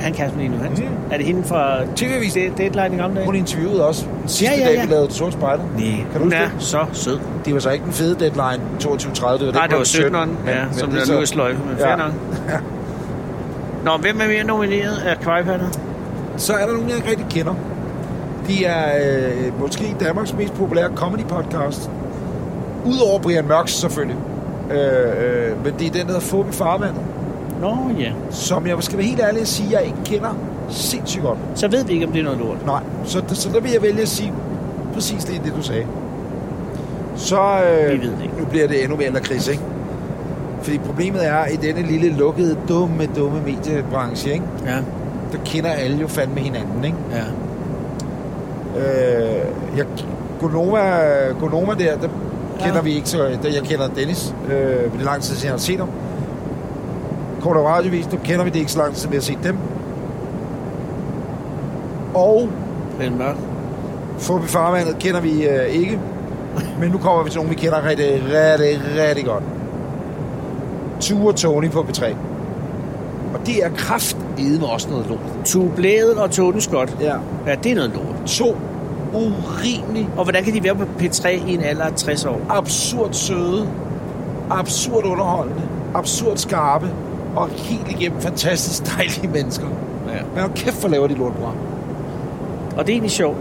Speaker 3: Han Kasper Lino Hansen.
Speaker 2: Mm.
Speaker 3: Mm. Er det hende fra
Speaker 2: TV-avisen.
Speaker 3: Det- Deadline i gamle dage?
Speaker 2: Hun interviewede også den sidste ja, ja, ja. dag, vi lavede Det Sorte Spejder.
Speaker 3: Nej,
Speaker 2: Kan du
Speaker 3: hun
Speaker 2: huske
Speaker 3: er
Speaker 2: det?
Speaker 3: så sød.
Speaker 2: Det var så ikke den fede deadline, 22.30. Det var
Speaker 3: Nej,
Speaker 2: den
Speaker 3: det var
Speaker 2: på
Speaker 3: 17'eren,
Speaker 2: men-
Speaker 3: ja,
Speaker 2: men
Speaker 3: som
Speaker 2: det
Speaker 3: der
Speaker 2: så-
Speaker 3: nu er sløjfe, men fair nok. Nå, hvem er mere nomineret af Kvejpander?
Speaker 2: Så er der nogen, jeg ikke rigtig kender. De er øh, måske Danmarks mest populære comedy podcast. Udover Brian Mørks selvfølgelig. Øh, øh, men det er den, der hedder Fubi Farvandet,
Speaker 3: Nå ja,
Speaker 2: som jeg skal være helt ærlig at sige, jeg ikke kender sindssygt godt.
Speaker 3: så ved vi ikke, om det er noget lort.
Speaker 2: Nej, så, så der vil jeg vælge at sige præcis det, det du sagde. Så øh,
Speaker 3: Vi ved det ikke.
Speaker 2: nu bliver det endnu mere lakrids, ikke? Fordi problemet er, i denne lille lukkede, dumme, dumme mediebranche, ikke?
Speaker 3: Ja,
Speaker 2: der kender alle jo fandme hinanden, ikke?
Speaker 3: ja.
Speaker 2: Øh, jeg, Gonoma, Gonoma der, der kender
Speaker 3: Ja.
Speaker 2: vi ikke så... Der, jeg kender Dennis, øh, men det er lang tid siden, jeg har set ham. Kort og radiovis, dem kender vi det ikke så lang tid, siden vi har set dem. Og
Speaker 3: Brian Mørk.
Speaker 2: Fubi Farvandet kender vi øh, ikke, men nu kommer vi til nogen, vi kender rigtig, rigtig, rigtig godt. Tue og Tony på B3. Og det er kraftedeme også noget lort.
Speaker 3: Tubladet og Torden Scott.
Speaker 2: Ja.
Speaker 3: Ja, det er noget lort.
Speaker 2: To urimelig
Speaker 3: Og hvordan kan de være på P3 i en alder af 60 år?
Speaker 2: absurd søde, absurd underholdende, absurd skarpe og helt igennem fantastisk dejlige mennesker.
Speaker 3: Ja.
Speaker 2: Men hold kæft, hvor laver de lort, bror.
Speaker 3: Og det er egentlig sjovt.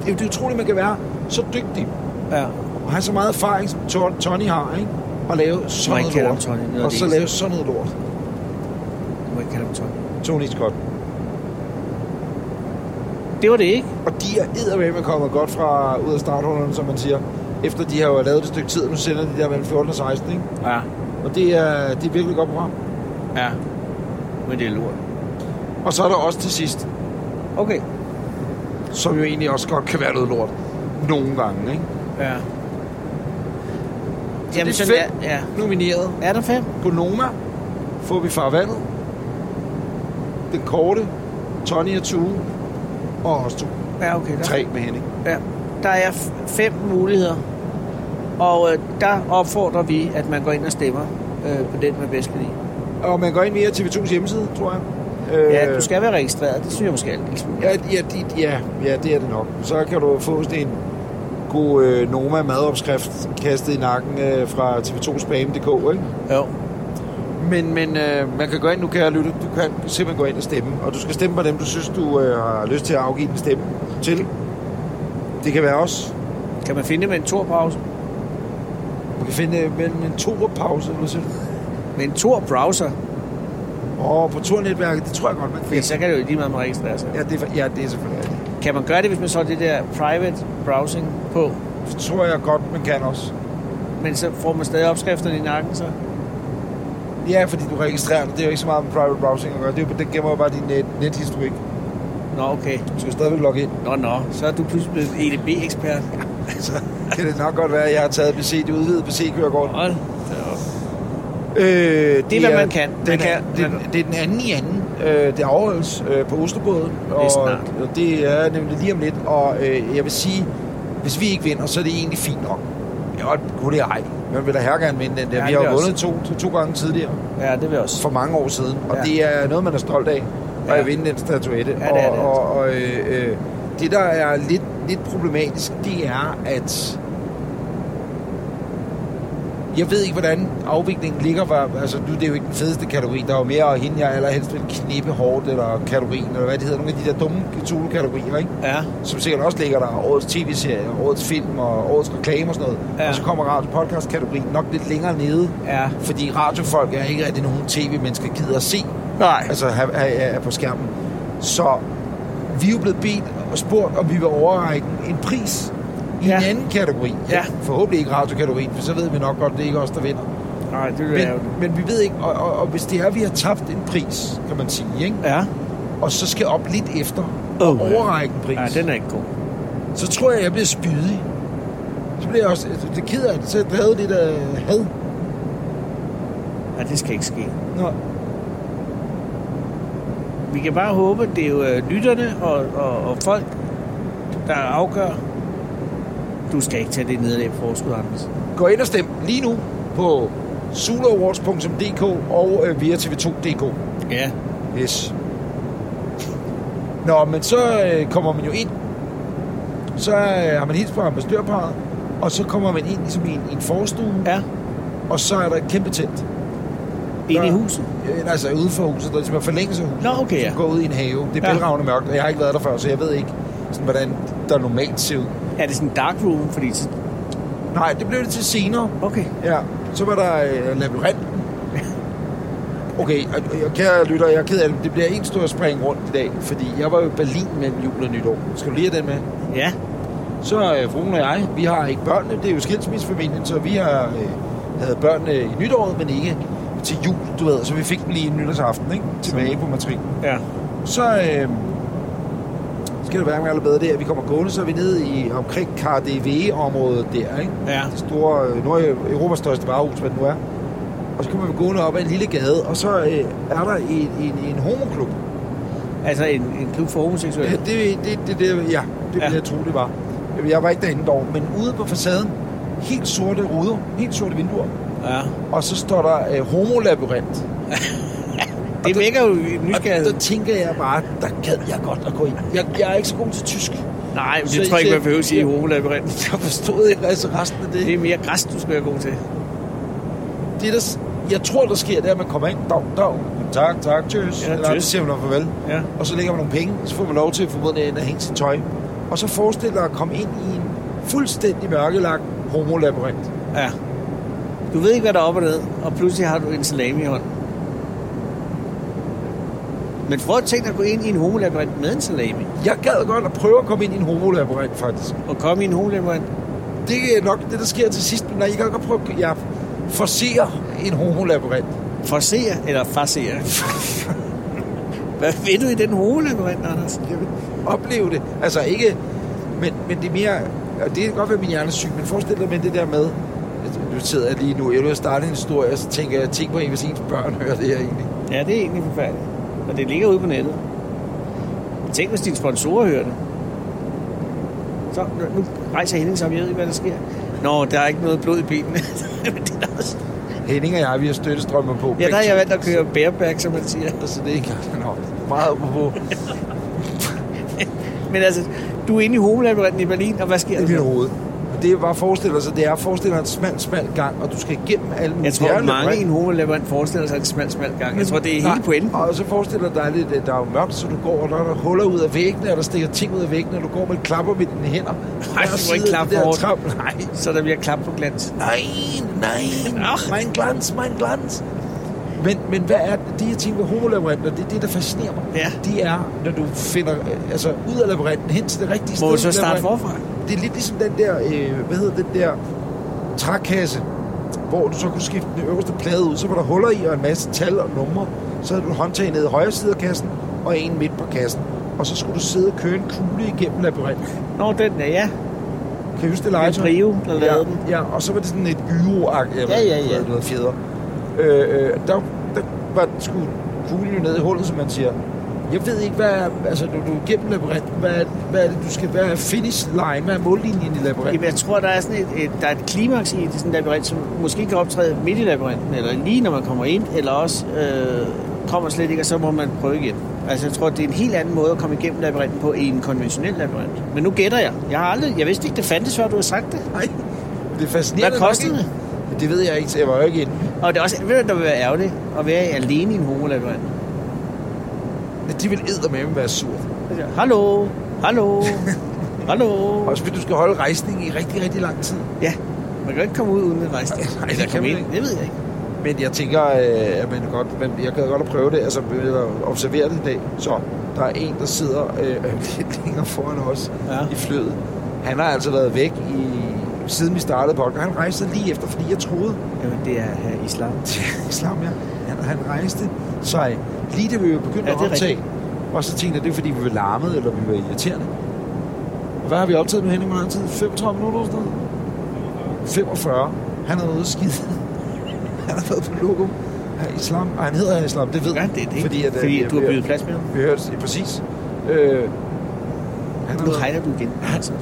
Speaker 2: Det er jo det er utroligt, man kan være så dygtig
Speaker 3: Ja.
Speaker 2: og have så meget erfaring, som Ton- Tony har, ikke? Og lave
Speaker 3: Må
Speaker 2: sådan
Speaker 3: ikke
Speaker 2: noget
Speaker 3: kalde
Speaker 2: lort.
Speaker 3: ham Tony, det er
Speaker 2: og
Speaker 3: det
Speaker 2: så
Speaker 3: eneste.
Speaker 2: lave sådan noget lort.
Speaker 3: Du må ikke kalde dem Tony.
Speaker 2: Tony Scott.
Speaker 3: Det var det ikke.
Speaker 2: Og de er eddermame kommet godt fra ud af starthullerne, som man siger. Efter de har jo lavet et stykke tid, og nu sender de der mellem 14 og 16, ikke?
Speaker 3: Ja.
Speaker 2: Og det er, det er virkelig et godt program.
Speaker 3: Ja. Men det er lort.
Speaker 2: Og så er der også til sidst
Speaker 3: Okay.
Speaker 2: som jo egentlig også godt kan være noget lort. Nogle gange, ikke?
Speaker 3: Ja.
Speaker 2: Så
Speaker 3: Jamen,
Speaker 2: det er
Speaker 3: sådan
Speaker 2: fem
Speaker 3: er, ja.
Speaker 2: nomineret.
Speaker 3: er der fem?
Speaker 2: Gonoma, får vi farvandet. Den korte, Tony og Tue, og også to.
Speaker 3: Ja, okay. Der,
Speaker 2: Tre med Henning.
Speaker 3: Ja. Der er f- fem muligheder. Og øh, der opfordrer vi, at man går ind og stemmer øh, på den, man bedst kan lide.
Speaker 2: Og man går ind via TV2's hjemmeside, tror jeg. Øh,
Speaker 3: Ja, du skal være registreret. Det synes jeg måske er lidt smule.
Speaker 2: Ja, ja, de, ja, ja, det er det nok. Så kan du få sådan en god øh, Noma madopskrift kastet i nakken øh, fra tv2spam.dk, ikke?
Speaker 3: Jo.
Speaker 2: Men, men øh, man kan gå ind nu, kære lytte. Du kan simpelthen gå ind og stemme. Og du skal stemme på dem, du synes, du øh, har lyst til at afgive en stemme til. Det kan være os.
Speaker 3: Kan man finde det med en torpause?
Speaker 2: Man kan finde øh, mellem en to-pause eller sådan
Speaker 3: Med en tor-browser?
Speaker 2: Og på turnetværket, det tror jeg godt, man kan
Speaker 3: Ja,
Speaker 2: finde.
Speaker 3: så kan det jo lige meget med at registrere sig.
Speaker 2: Ja, det er, ja, det er selvfølgelig rigtigt.
Speaker 3: Kan man gøre det, hvis man så har det der private browsing på?
Speaker 2: Det tror jeg godt, man kan også.
Speaker 3: Men så får man stadig opskrifterne i nakken, så?
Speaker 2: Ja, fordi du registrerer det. Det er jo ikke så meget med private browsing at gøre. Det, er jo, det gemmer jo bare din net, nethistorik.
Speaker 3: Nå, okay.
Speaker 2: Du skal stadigvæk logge ind.
Speaker 3: Nå, nå. Så er du pludselig blevet E EDB-ekspert.
Speaker 2: Så kan det nok godt være, at jeg har taget BC, det udvidede BC-kørekort.
Speaker 3: Hold
Speaker 2: Øh, det,
Speaker 3: er, hvad man kan.
Speaker 2: Den
Speaker 3: Man
Speaker 2: er,
Speaker 3: kan-
Speaker 2: det,
Speaker 3: man-
Speaker 2: det er den anden i anden. Øh, det afholdes øh, på Oslobåden. Og
Speaker 3: snart.
Speaker 2: og det er nemlig lige om lidt. Og øh, jeg vil sige, hvis vi ikke vinder, så er det egentlig fint nok. Jo, kunne det ej. Man vil da her gerne vinde den der.
Speaker 3: Ja,
Speaker 2: Ja, vi
Speaker 3: det
Speaker 2: har
Speaker 3: er
Speaker 2: jo
Speaker 3: også-
Speaker 2: vundet to, to, to gange tidligere,
Speaker 3: Ja, det vil jeg også.
Speaker 2: for mange år siden. Og
Speaker 3: Ja.
Speaker 2: ja. det er noget, man er stolt af. Og
Speaker 3: Ja.
Speaker 2: at vinde den statuette.
Speaker 3: Ja, det er
Speaker 2: og,
Speaker 3: det
Speaker 2: Og, og øh, øh, det, der er lidt, lidt problematisk, det er, at jeg ved ikke, hvordan afviklingen ligger. Var, altså, nu er det jo ikke den fedeste kategori. Der er jo mere hende, jeg allerhelst vil knippe hårdt, eller kategorien, eller hvad det hedder. Nogle af de der dumme Cthulhu-kategorier, ikke?
Speaker 3: Ja,
Speaker 2: Som sikkert også ligger der. Årets tv-serie, årets film og årets reklame og sådan noget.
Speaker 3: Ja.
Speaker 2: Ja. Og så kommer radio-podcast-kategorien nok lidt længere nede.
Speaker 3: ja.
Speaker 2: Fordi radiofolk er ikke rigtig nogen tv-mennesker gider at se,
Speaker 3: Nej.
Speaker 2: altså have, have, have på skærmen. Så vi er jo blevet bedt og spurgt, om vi vil overrække en pris i
Speaker 3: Ja.
Speaker 2: en anden kategori.
Speaker 3: Ja.
Speaker 2: Forhåbentlig ikke radiokategorien, for så ved vi nok godt, det er ikke os, der vinder.
Speaker 3: Nej, det vil jeg jo.
Speaker 2: Men, men vi ved ikke, og, og, og hvis det er, at vi har tabt en pris, kan man sige, ikke?
Speaker 3: Ja.
Speaker 2: og så skal op lidt efter og
Speaker 3: Oh, ja.
Speaker 2: overrække en pris,
Speaker 3: Nej, den er ikke god.
Speaker 2: så tror jeg, jeg bliver spydig. Så bliver jeg også det ked af det, så jeg drevet lidt af had.
Speaker 3: Nej, det skal ikke ske.
Speaker 2: Nå,
Speaker 3: Vi kan bare håbe, at det er jo øh, lytterne og, og, og folk, der afgør. Du skal ikke tage det nederlag på forskud, Anders.
Speaker 2: Gå ind og stem lige nu på zulawards.dk og øh, via tv2.dk.
Speaker 3: Ja.
Speaker 2: Yes. Nå, men så øh, kommer man jo ind. Så øh, har man hilst på ambassadørparet, og så kommer man ind ligesom i en, i en forstue,
Speaker 3: Ja,
Speaker 2: og så er der et kæmpe telt.
Speaker 3: inde i
Speaker 2: Nå.
Speaker 3: huset.
Speaker 2: Øh, altså ude for huset, der er ligesom en forlængelse af huset.
Speaker 3: Nå, okay, ja.
Speaker 2: Som går ud i en have. Det er
Speaker 3: Ja.
Speaker 2: bælragende mørkt, og jeg har ikke været der før, så jeg ved ikke, sådan, hvordan der normalt ser ud.
Speaker 3: Er det sådan en dark room? Fordi...
Speaker 2: Nej, det blev det til senere.
Speaker 3: Okay.
Speaker 2: Ja, så var der øh, labyrinten. Okay, og, og jeg, kære lytter, jeg er ked af det. Det bliver en stor spring rundt i dag, fordi jeg var jo i Berlin mellem jul og nytår. Skal du lige have den med?
Speaker 3: Ja.
Speaker 2: Så øh, fruen og jeg, vi har ikke børnene. Det er jo skilsmissefamilien, så vi har øh, havde børnene i nytåret, men ikke til jul, du ved. Så vi fik dem lige en nytårsaften, ikke? Tilbage på matriklen.
Speaker 3: Ja.
Speaker 2: Så øh, skal det være med allerede der, vi kommer gående, så er vi nede i omkring KDV-området der, ikke?
Speaker 3: Ja.
Speaker 2: Det store, øh, Nord- Europas største varehus, hvad det nu er. Og så kommer vi gående op ad en lille gade, og så øh, er der en, en, en homoklub.
Speaker 3: Altså en, en klub for
Speaker 2: Ja,
Speaker 3: homoseksuelle.
Speaker 2: det, det, det, det, ja, det ville
Speaker 3: Ja.
Speaker 2: ja. jeg tro, det var. Jeg var ikke derinde dog, men ude på facaden, helt sorte ruder, helt sorte vinduer,
Speaker 3: Ja.
Speaker 2: og så står der øh, homolabyrint.
Speaker 3: Det vækker jo en
Speaker 2: Og der
Speaker 3: nysgerrighed.
Speaker 2: tænker jeg bare, der gad jeg godt at gå ind. Jeg, jeg er ikke så god til tysk.
Speaker 3: Nej, men
Speaker 2: Så
Speaker 3: det tror jeg
Speaker 2: I-
Speaker 3: ikke, man behøver at sige i homolabyrinten.
Speaker 2: Jeg forstod ikke altså resten af det.
Speaker 3: Det er mere græs, du skal være god til.
Speaker 2: det der, s- jeg tror, der sker, det er, at man kommer ind, dag, dag, tak, tak, tjøs.
Speaker 3: Ja,
Speaker 2: Ja, Eller
Speaker 3: tjøs.
Speaker 2: så siger man noget farvel.
Speaker 3: Ja.
Speaker 2: Og så lægger man nogle penge, så får man lov til at formodentlig at hænge sit tøj. Og så forestiller at komme ind i en fuldstændig mørkelagt homolabyrint.
Speaker 3: ja. Du ved ikke, hvad der er op og ned, og pludselig har du en salami i hånden. Men prøv at tænke dig at gå ind i en homolabyrint med en salami.
Speaker 2: Jeg gad godt at prøve at komme ind i en homolabyrint, faktisk.
Speaker 3: Og komme i en homolabyrint.
Speaker 2: Det er nok det, der sker til sidst, men nej, jeg kan godt prøve at jeg forser en homolabyrint.
Speaker 3: Forser eller farser? Hvad ved du i den homolabyrint, Anders?
Speaker 2: Jeg vil opleve det. Altså ikke... Men, men det er mere... Og det kan godt være, at min hjerne er syg, men forestil dig med det der med... at Nu sidder jeg lige nu, jeg vil starte en historie, og så tænker jeg, tænk på en, hvis ens børn hører det her egentlig.
Speaker 3: Ja, det er egentlig forfærdeligt. Og det ligger ude på nettet. Tænk, hvis dine sponsorer hører det. Så, nu- nu rejser Henning sig op. Jeg ved ikke, hvad der sker. Nå, der er ikke noget blod i bilen. Men det er der også.
Speaker 2: Henning og jeg, vi har støttestrømmer på.
Speaker 3: ja, der har
Speaker 2: begge
Speaker 3: jeg
Speaker 2: to.
Speaker 3: valgt at køre bareback, som man siger.
Speaker 2: Så Altså, det er ikke Nå, meget på.
Speaker 3: Men altså, du er inde i homolabyrinten i Berlin, og hvad sker
Speaker 2: i
Speaker 3: der?
Speaker 2: mit
Speaker 3: så?
Speaker 2: hoved. Og det er bare forestiller sig, det er forestiller en smal, smal gang, og du skal igennem alle
Speaker 3: Jeg
Speaker 2: Det
Speaker 3: tror,
Speaker 2: er
Speaker 3: at
Speaker 2: en
Speaker 3: mange i
Speaker 2: labyrint.
Speaker 3: en homolabyrint forestiller sig en smal, smal gang. Jeg tror, det er
Speaker 2: Nej,
Speaker 3: hele pointen.
Speaker 2: Og så forestiller dig lidt, at der er jo mørkt, så du går, og der er der huller ud af væggene, og der stikker ting ud af væggene, og du går med klapper med dine hænder. Hver
Speaker 3: du må
Speaker 2: side
Speaker 3: ikke
Speaker 2: af
Speaker 3: klappe
Speaker 2: det der
Speaker 3: for hårdt.
Speaker 2: trap. Nej,
Speaker 3: Så der bliver klap på glans.
Speaker 2: nej, nej.
Speaker 3: Nå.
Speaker 2: Mein glans, mein glans. Men, men hvad er det, de her ting ved homolabyrinter, det er det, der fascinerer mig.
Speaker 3: Ja.
Speaker 2: Det er, når du finder øh, altså, ud af labyrinten hen til det rigtige sted.
Speaker 3: Må vi
Speaker 2: i
Speaker 3: så starte
Speaker 2: labyrinten.
Speaker 3: forfra?
Speaker 2: Det er lidt ligesom den der, øh, hvad hedder den der trækasse, hvor du så kunne skifte den øverste plade ud, så var der huller i og en masse tal og numre. Så havde du et håndtag nede i højre side af kassen og en midt på kassen. Og så skulle du sidde og køre en kugle igennem labyrinten.
Speaker 3: Nå, den er ja.
Speaker 2: Kan I huske det legetøj?
Speaker 3: Det er Brio, der lavede
Speaker 2: ja,
Speaker 3: den.
Speaker 2: Ja, og så var det sådan et gyro
Speaker 3: Ja, ja, ja.
Speaker 2: Noget fjeder. Øh, øh, der, der var, skulle kuglen jo ned i hullet, som man siger. Jeg ved ikke, hvad er, altså, du, du er gennem labyrinten, hvad, er- hvad er det, du skal, hvad er finish line, hvad er mållinjen i labyrinten?
Speaker 3: Jamen, jeg tror, der er, sådan et, et, der er et klimaks i det, sådan en labyrint, som måske kan optræde midt i labyrinten, eller lige når man kommer ind, eller også øh, kommer slet ikke, og så må man prøve igen. Altså, jeg tror, det er en helt anden måde at komme igennem labyrinten på i en konventionel labyrint. Men nu gætter jeg. Jeg har aldrig, jeg vidste ikke, det fandtes, før du har sagt det.
Speaker 2: Nej, det er fascinerende.
Speaker 3: Hvad kostede
Speaker 2: nok, ikke? Det ved jeg ikke, så jeg var jo ikke inde.
Speaker 3: Og det er også, ved du, hvad der vil være ærgerligt, at være alene i en homolabyrint.
Speaker 2: Men de vil eddermame være sur.
Speaker 3: Altså, hallo, hallo, hallo.
Speaker 2: Også fordi du skal holde rejsningen i rigtig, rigtig lang tid.
Speaker 3: Ja, man kan jo ikke komme ud uden en rejse.
Speaker 2: Nej, det
Speaker 3: Eller
Speaker 2: kan
Speaker 3: komme
Speaker 2: man
Speaker 3: ind.
Speaker 2: ikke.
Speaker 3: Det ved jeg ikke.
Speaker 2: Men jeg tænker, øh, at man godt, men jeg kan godt at prøve det, altså eller observere det i dag. Så der er en, der sidder øh, lidt længere foran os
Speaker 3: Ja.
Speaker 2: ja. i flyet. Han har altså været væk i, siden vi startede podcast. Han rejste lige efter, fordi jeg troede,
Speaker 3: Jamen, det er her islam.
Speaker 2: til islam, ja. Han, han rejste sig lige da vi begyndte
Speaker 3: Ja,
Speaker 2: ja,
Speaker 3: det er
Speaker 2: at optage. Og så tænkte jeg, det er fordi, vi var larmet, eller vi var irriterende. Og hvad har vi optaget nu, Henning? Hvor lang tid? 35 minutter eller sådan noget? 45. Han har været ude at skide. Han har været på lokum af islam. Og han hedder islam, det ved
Speaker 3: Ja,
Speaker 2: jeg.
Speaker 3: det er det.
Speaker 2: Fordi, at, øh,
Speaker 3: fordi
Speaker 2: vi-
Speaker 3: du har
Speaker 2: vi-
Speaker 3: byttet plads med ham.
Speaker 2: Vi hørte det, præcis. Øh, han, har
Speaker 3: Nu
Speaker 2: været,
Speaker 3: hejler du igen. Altså.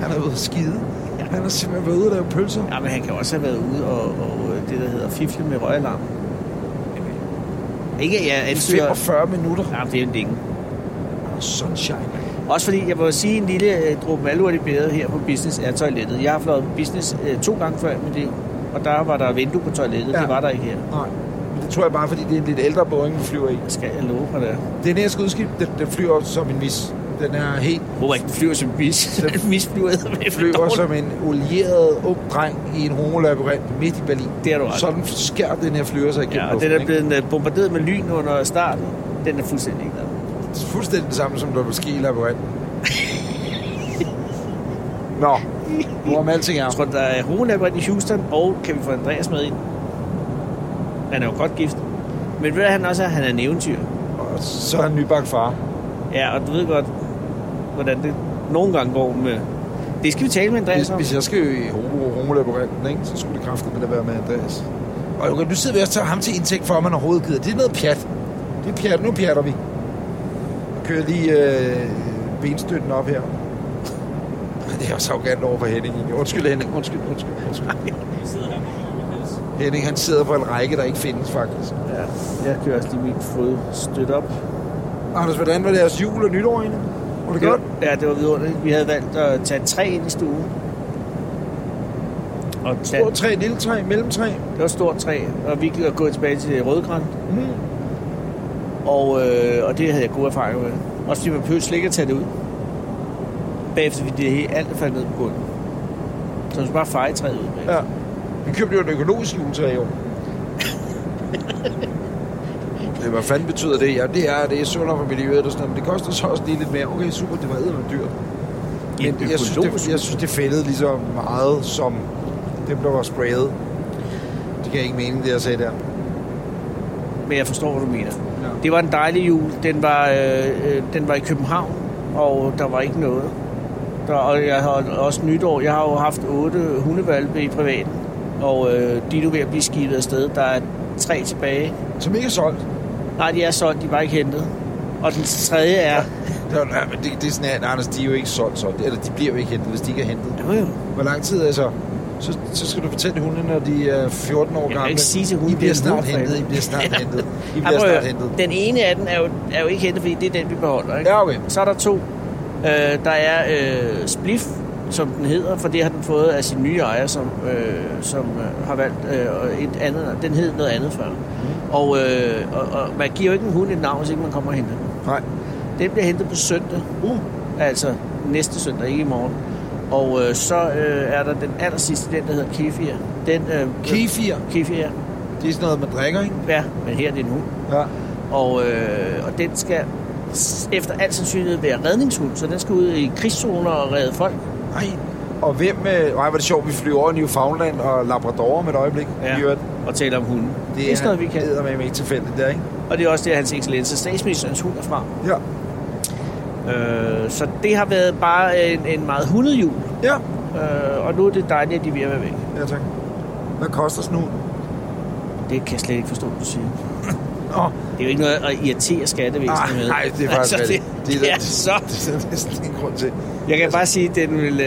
Speaker 2: han har været ude at skide.
Speaker 3: Ja.
Speaker 2: Han har simpelthen været ude at lave pølser.
Speaker 3: Ja, men han kan også have været ude og, og øh, det, der hedder fifle med røgalarm. Ikke, at jeg
Speaker 2: I
Speaker 3: ansøger...
Speaker 2: 45 minutter.
Speaker 3: Ja, det er jo en ding.
Speaker 2: Sunshine.
Speaker 3: Også fordi, jeg må sige, en lille øh, dråbe malurt i bæret her på business er toilettet. Jeg har fløjet på business øh, to gange før i mit liv, og der var der vindue på toilettet.
Speaker 2: Ja.
Speaker 3: Ja. Det var der ikke her.
Speaker 2: Nej, men det tror jeg bare, fordi det er en lidt ældre Boeing, vi flyver i.
Speaker 3: Hvad skal jeg love for det?
Speaker 2: Den her skudskib, den, den flyver som en vis. Den er helt
Speaker 3: Hvor ikke den flyver som en bis.
Speaker 2: Den
Speaker 3: Den mis flyver eddermame
Speaker 2: flyver
Speaker 3: dårligt.
Speaker 2: som en olieret ung dreng i en homolabyrint midt i Berlin.
Speaker 3: Det er du ret.
Speaker 2: Sådan skærer den her flyver sig igennem
Speaker 3: Ja, og
Speaker 2: luften,
Speaker 3: den er
Speaker 2: ikke?
Speaker 3: blevet øh, bombarderet med lyn under starten. Den er fuldstændig ikke der.
Speaker 2: fuldstændig det samme, som der var ske i labyrinten. Nå, hvorom alting er.
Speaker 3: Jeg tror, der er hovedlabyrint i Houston, og kan vi få Andreas med ind? Han er jo godt gift. Men ved du, hvad han også er? Han er en eventyr.
Speaker 2: Og så er han nybagt far.
Speaker 3: Ja, og du ved godt, hvordan det nogle gange går med... Det skal vi tale med
Speaker 2: Hvis,
Speaker 3: Andreas om.
Speaker 2: hvis jeg skal i homolabyrinten, ikke, så skulle det kraftigt med at være med Andreas. Og okay, nu sidder vi også og tager ham til indtægt for, at man overhovedet gider. Det er noget pjat. Det er pjat. Nu pjatter vi. Jeg kører lige øh, benstøtten op her. Det er også arrogant over for Henning. egentlig. Undskyld, Henning. Undskyld, undskyld, undskyld. Henning, han sidder på en række, der ikke findes, faktisk.
Speaker 3: Ja, jeg kører også lige mit fod stødt op.
Speaker 2: Anders, hvordan var deres jul og nytår egentlig? Var det godt?
Speaker 3: Ja, det var vidunderligt. Vi havde valgt at tage et træ ind i stuen. Og tage,
Speaker 2: Stort træ, lille træ, mellemtræ.
Speaker 3: det var et stort træ, og vi gik og gå tilbage til Rødgræn.
Speaker 2: Mm.
Speaker 3: Og, øh, og det havde jeg gode erfaringer med. Også fordi man behøvede slet ikke at tage det ud. Bagefter vi det hele, alt faldt ned på gulvet. Så man skulle bare feje træet ud. Ja.
Speaker 2: Ja. Vi købte jo et økologisk juletræ i år. det, hvad fanden betyder det? Ja, det er, det er sundere for miljøet og sådan noget, men det koster så også lige lidt mere. Okay, super, det var eddermame dyrt. Men jeg synes, det, jeg synes, det fældede lige så meget som dem, der var sprayet. Det kan jeg ikke mene, det jeg sagde der.
Speaker 3: Men jeg forstår, hvad du mener.
Speaker 2: Ja.
Speaker 3: Det var en dejlig jul. Den var, øh, øh, den var i København, og der var ikke noget. Der, og jeg har også nytår. Jeg har jo haft otte hundevalpe i privaten, og øh, de er nu ved at blive skibet afsted. Der er tre tilbage.
Speaker 2: Som ikke er solgt.
Speaker 3: Nej, de er solgt. De var ikke hentet. Og den tredje er...
Speaker 2: Det, er- ja, men det, det er sådan, at Anders, de er jo ikke solgt, solgt. Eller de bliver jo ikke hentet, hvis de ikke er hentet.
Speaker 3: Jo, jo.
Speaker 2: Hvor lang tid er så? Så, så skal du fortælle hundene, når de er 14 år
Speaker 3: kan
Speaker 2: gamle.
Speaker 3: ikke sige til hunden,
Speaker 2: I bliver
Speaker 3: det er en
Speaker 2: snart
Speaker 3: hund, for
Speaker 2: hentet, I
Speaker 3: helvede."
Speaker 2: bliver snart hentet. I bliver
Speaker 3: Ej, prøv at
Speaker 2: snart
Speaker 3: høre.
Speaker 2: hentet.
Speaker 3: Den ene af den er jo, er jo ikke hentet, fordi det er den, vi beholder. Ikke?
Speaker 2: Ja, okay.
Speaker 3: Så er der to. Øh, der er øh, Spliff, som den hedder, for det har den fået af sin nye ejer, som, øh, som øh, har valgt øh, et andet. Den hed noget andet før.
Speaker 2: Mm.
Speaker 3: Og, øh, og, og man giver jo ikke en hund et navn, hvis ikke man kommer og henter den.
Speaker 2: Nej.
Speaker 3: Den bliver hentet på søndag,
Speaker 2: Uh,
Speaker 3: altså næste søndag, ikke i morgen. Og øh, så øh, er der den aller sidste, den der hedder Kefir. Den, øh,
Speaker 2: kefir.
Speaker 3: Kefir,
Speaker 2: Det er sådan noget, man drikker, ikke?
Speaker 3: ja, men her er det en hund.
Speaker 2: Ja.
Speaker 3: Og, øh, og den skal s- efter al sandsynlighed være redningshund, så den skal ud i krigszoner og redde folk.
Speaker 2: Nej. Og hvem... Øh, nej, var det sjovt, vi flyver over Newfoundland og Labrador med et øjeblik. I øvrigt.
Speaker 3: Og tale om hunden. Det,
Speaker 2: Det
Speaker 3: det er sådan noget, vi
Speaker 2: Det
Speaker 3: kan.
Speaker 2: er med ikke tilfældigt der, ikke?
Speaker 3: Og det er også det, hans excellence statsministerens hund er fra.
Speaker 2: Ja.
Speaker 3: Øh, så det har været bare en, en meget hundet jul.
Speaker 2: Ja.
Speaker 3: Øh, og nu er det dejligt, at de er ved at være væk.
Speaker 2: Ja, tak. Hvad koster sådan nu?
Speaker 3: Det kan jeg slet ikke forstå, du siger.
Speaker 2: Nå,
Speaker 3: Det er jo ikke noget at irritere skattevæsenet
Speaker 2: ah,
Speaker 3: med.
Speaker 2: nej, det er faktisk
Speaker 3: altså, det,
Speaker 2: rigtigt.
Speaker 3: det,
Speaker 2: der-
Speaker 3: det, er så...
Speaker 2: Det er der næsten ingen grund til. Altså,
Speaker 3: Jeg kan bare sige, at den vil, øh,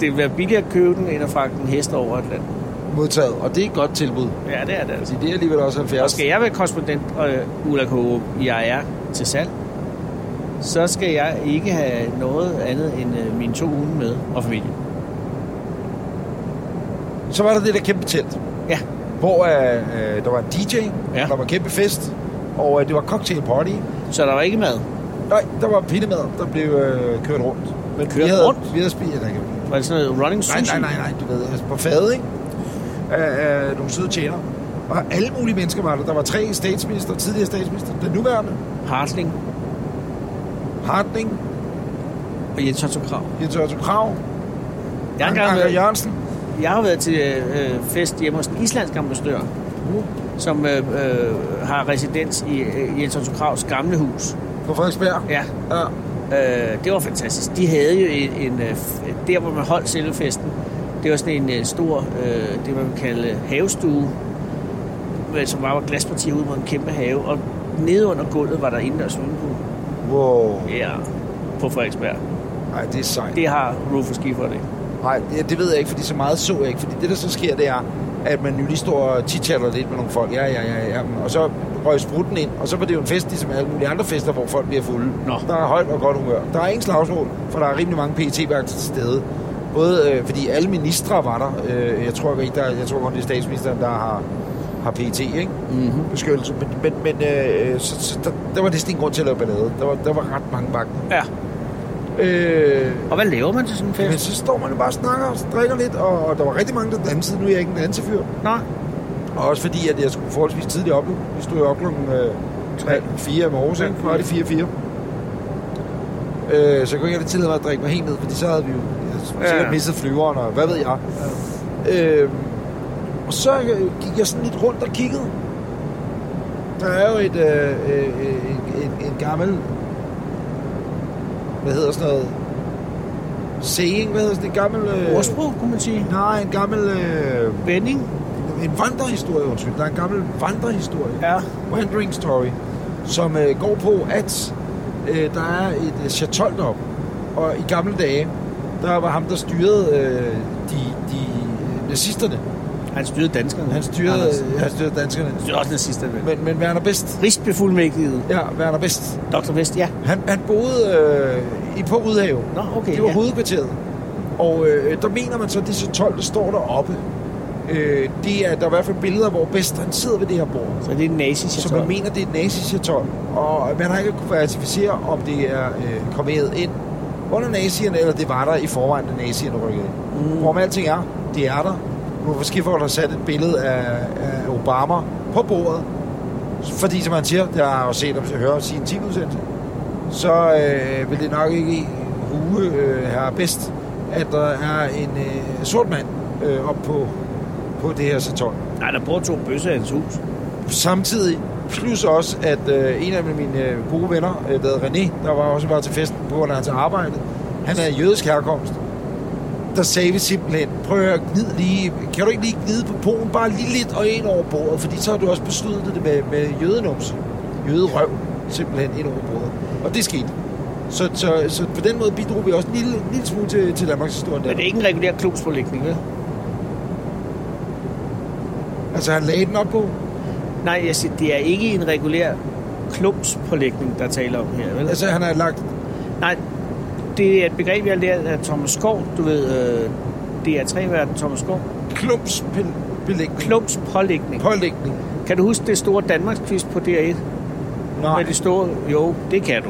Speaker 3: det vil være billigere at købe den, end at fragte en hest over Atlanten.
Speaker 2: Modtaget. Og det er et godt tilbud.
Speaker 3: Ja, det er det altså.
Speaker 2: Altså, det er alligevel også 70.
Speaker 3: Og skal jeg være korrespondent og øh, Ulla Kåre, jeg er til salg, så skal jeg ikke have noget andet end øh, mine to hunde med og familie.
Speaker 2: Så var der det der kæmpe telt.
Speaker 3: Ja.
Speaker 2: Hvor øh, øh, der var en DJ, ja.
Speaker 3: Ja.
Speaker 2: der var kæmpe fest, og øh, det var cocktail party.
Speaker 3: Så der var ikke mad.
Speaker 2: Nej, der var pindemad, der blev øh, kørt rundt. Men
Speaker 3: Kørt
Speaker 2: vi havde,
Speaker 3: rundt?
Speaker 2: Vi havde spist, nej, nej,
Speaker 3: Var det sådan noget running sushi?
Speaker 2: nej, nej, nej, du ved, altså på fad, ikke? Øh, øh, nogle søde tjener. Og alle mulige mennesker var der. Der var tre statsminister, tidligere statsminister, den nuværende,
Speaker 3: Hartling
Speaker 2: Hartning,
Speaker 3: og Jens Otto Krav.
Speaker 2: Jens Otto Krav,
Speaker 3: Jeg har, engang
Speaker 2: Anker
Speaker 3: været,
Speaker 2: Jørgensen.
Speaker 3: jeg har været til øh, fest hjemme hos en islandsk ambassadør,
Speaker 2: Uh,
Speaker 3: som øh, øh, har residens i øh, Jens Otto Kravs gamle hus.
Speaker 2: på Frederiksberg.
Speaker 3: Ja,
Speaker 2: Ja.
Speaker 3: Øh, det var fantastisk. De havde jo en, en øh, f- der hvor man holdt selve festen, det var sådan en øh, stor, øh, det man vil kalde havestue, men som bare var glaspartier ud mod en kæmpe have, og nede under gulvet var der indendørs swimmingpool.
Speaker 2: Wow.
Speaker 3: Ja, på Frederiksberg.
Speaker 2: Ej, det er sejt.
Speaker 3: Det har Rufus Gifford det.
Speaker 2: Nej, det, det ved jeg ikke, fordi så meget så jeg ikke. Fordi det, der så sker, det er, at man jo lige står og chitchatter lidt med nogle folk. Ja, ja, ja, ja. Og så røg sprutten ind, og så var det jo en fest, ligesom alle mulige andre fester, hvor folk bliver fulde.
Speaker 3: Nå.
Speaker 2: Der er højt og godt humør. Der er ingen slagsmål, for der er rimelig mange pet vagter til stede. Både øh, fordi alle ministre var der. Øh, jeg tror ikke, der, jeg tror kun det er statsministeren, der har, har PET, ikke?
Speaker 3: Mm-hmm.
Speaker 2: Beskyttelse. Men, men, men øh, så, så der, der, var næsten ingen grund til at lave ballade. Der var, der var ret mange vagter.
Speaker 3: Ja.
Speaker 2: Øh,
Speaker 3: Og hvad laver man til sådan en
Speaker 2: men
Speaker 3: fest?
Speaker 2: så står man jo bare og snakker og drikker lidt, og, og der var rigtig mange, der dansede. Nu er jeg ikke en dansefyr.
Speaker 3: Nej.
Speaker 2: Og også fordi, at jeg skulle forholdsvis tidligt op. nu. Vi stod jo op klokken øh, tre, fire om morges, ikke? Var det 4-4? Øh, så kunne jeg ikke tillade mig at drikke mig helt ned, fordi så havde vi jo
Speaker 3: Ja.
Speaker 2: ja. sikkert mistet flyveren, og hvad ved jeg. Øh, og så øh, gik jeg sådan lidt rundt og kiggede. Der er jo et, øh, øh, en, en, en gammel, hvad hedder sådan noget, saying, hvad hedder sådan en gammel... Øh,
Speaker 3: Ordsprog, kunne man sige.
Speaker 2: Nej, en gammel... Øh,
Speaker 3: Vending.
Speaker 2: en vandrehistorie, undskyld. Der er en gammel vandrehistorie,
Speaker 3: Ja.
Speaker 2: wandering story, som øh, går på, at øh, der er et øh, chatol deroppe. Og i gamle dage, der var ham, der styrede øh, de, de øh, nazisterne.
Speaker 3: Han styrede danskerne.
Speaker 2: Han styrede,
Speaker 3: Andersen.
Speaker 2: øh, han styrede danskerne.
Speaker 3: Han styrede også nazisterne. Men...
Speaker 2: Men, men Werner Best,
Speaker 3: Rigsbefuldmægtiget.
Speaker 2: ja, Werner Best,
Speaker 3: Dr. Vest, ja.
Speaker 2: han, han boede øh, i på Udhave.
Speaker 3: Nå, okay.
Speaker 2: Det var
Speaker 3: ja.
Speaker 2: hovedkvarteret. Og øh, der mener man så, at det så 12, der står deroppe. Øh, det er, der er i hvert fald billeder, hvor Best han sidder ved det her bord.
Speaker 3: Så det er en nazi
Speaker 2: Så man mener, det er et nazichatol, og man har ikke kunnet verificere, om det er øh, kommet ind under nazierne, eller det var der i forvejen, da nazierne rykkede ind. Mm. Hvor med alting er, det er der. Nu er måske folk har sat et billede af, af Obama på bordet, fordi som man siger, det har jeg jo set og hørt sin tv-udsendelse, så øh, vil det nok ikke hue øh, her bedst, at der er en øh, sort mand øh, op på, på det her satol
Speaker 3: Nej, der bor to bøsser i hans hus.
Speaker 2: samtidig, plus også, at øh, en af mine øh, gode venner, øh, der hedder René, der var også bare til festen på grund af hans arbejde, han er af jødisk herkomst. Der sagde vi simpelthen, prøv at høre, gnid lige, kan du ikke lige gnide på polen, bare lige lidt og ind over bordet, fordi så har du også besluttet det med, med jødenums, jøderøv, simpelthen ind over bordet. Og det skete. Så, så, så på den måde bidrog vi også en lille, en lille smule til, til Danmarks historie. Der.
Speaker 3: Men det er ikke en regulær klubspålægning, vel?
Speaker 2: Altså han lagde den op på.
Speaker 3: Nej, jeg siger, det er ikke en regulær klumpspålægning, der taler om her, vel?
Speaker 2: Altså han har lagt
Speaker 3: Nej, det er et begreb, jeg lærte af Thomas Skov. Du ved, øh, det er tre verden Thomas Skov.
Speaker 2: klumpsbelægning,
Speaker 3: Klumpspålægning.
Speaker 2: pålægning.
Speaker 3: Kan du huske det store Danmarks quiz på DR1?
Speaker 2: Nej.
Speaker 3: Med det store... Jo, det kan du.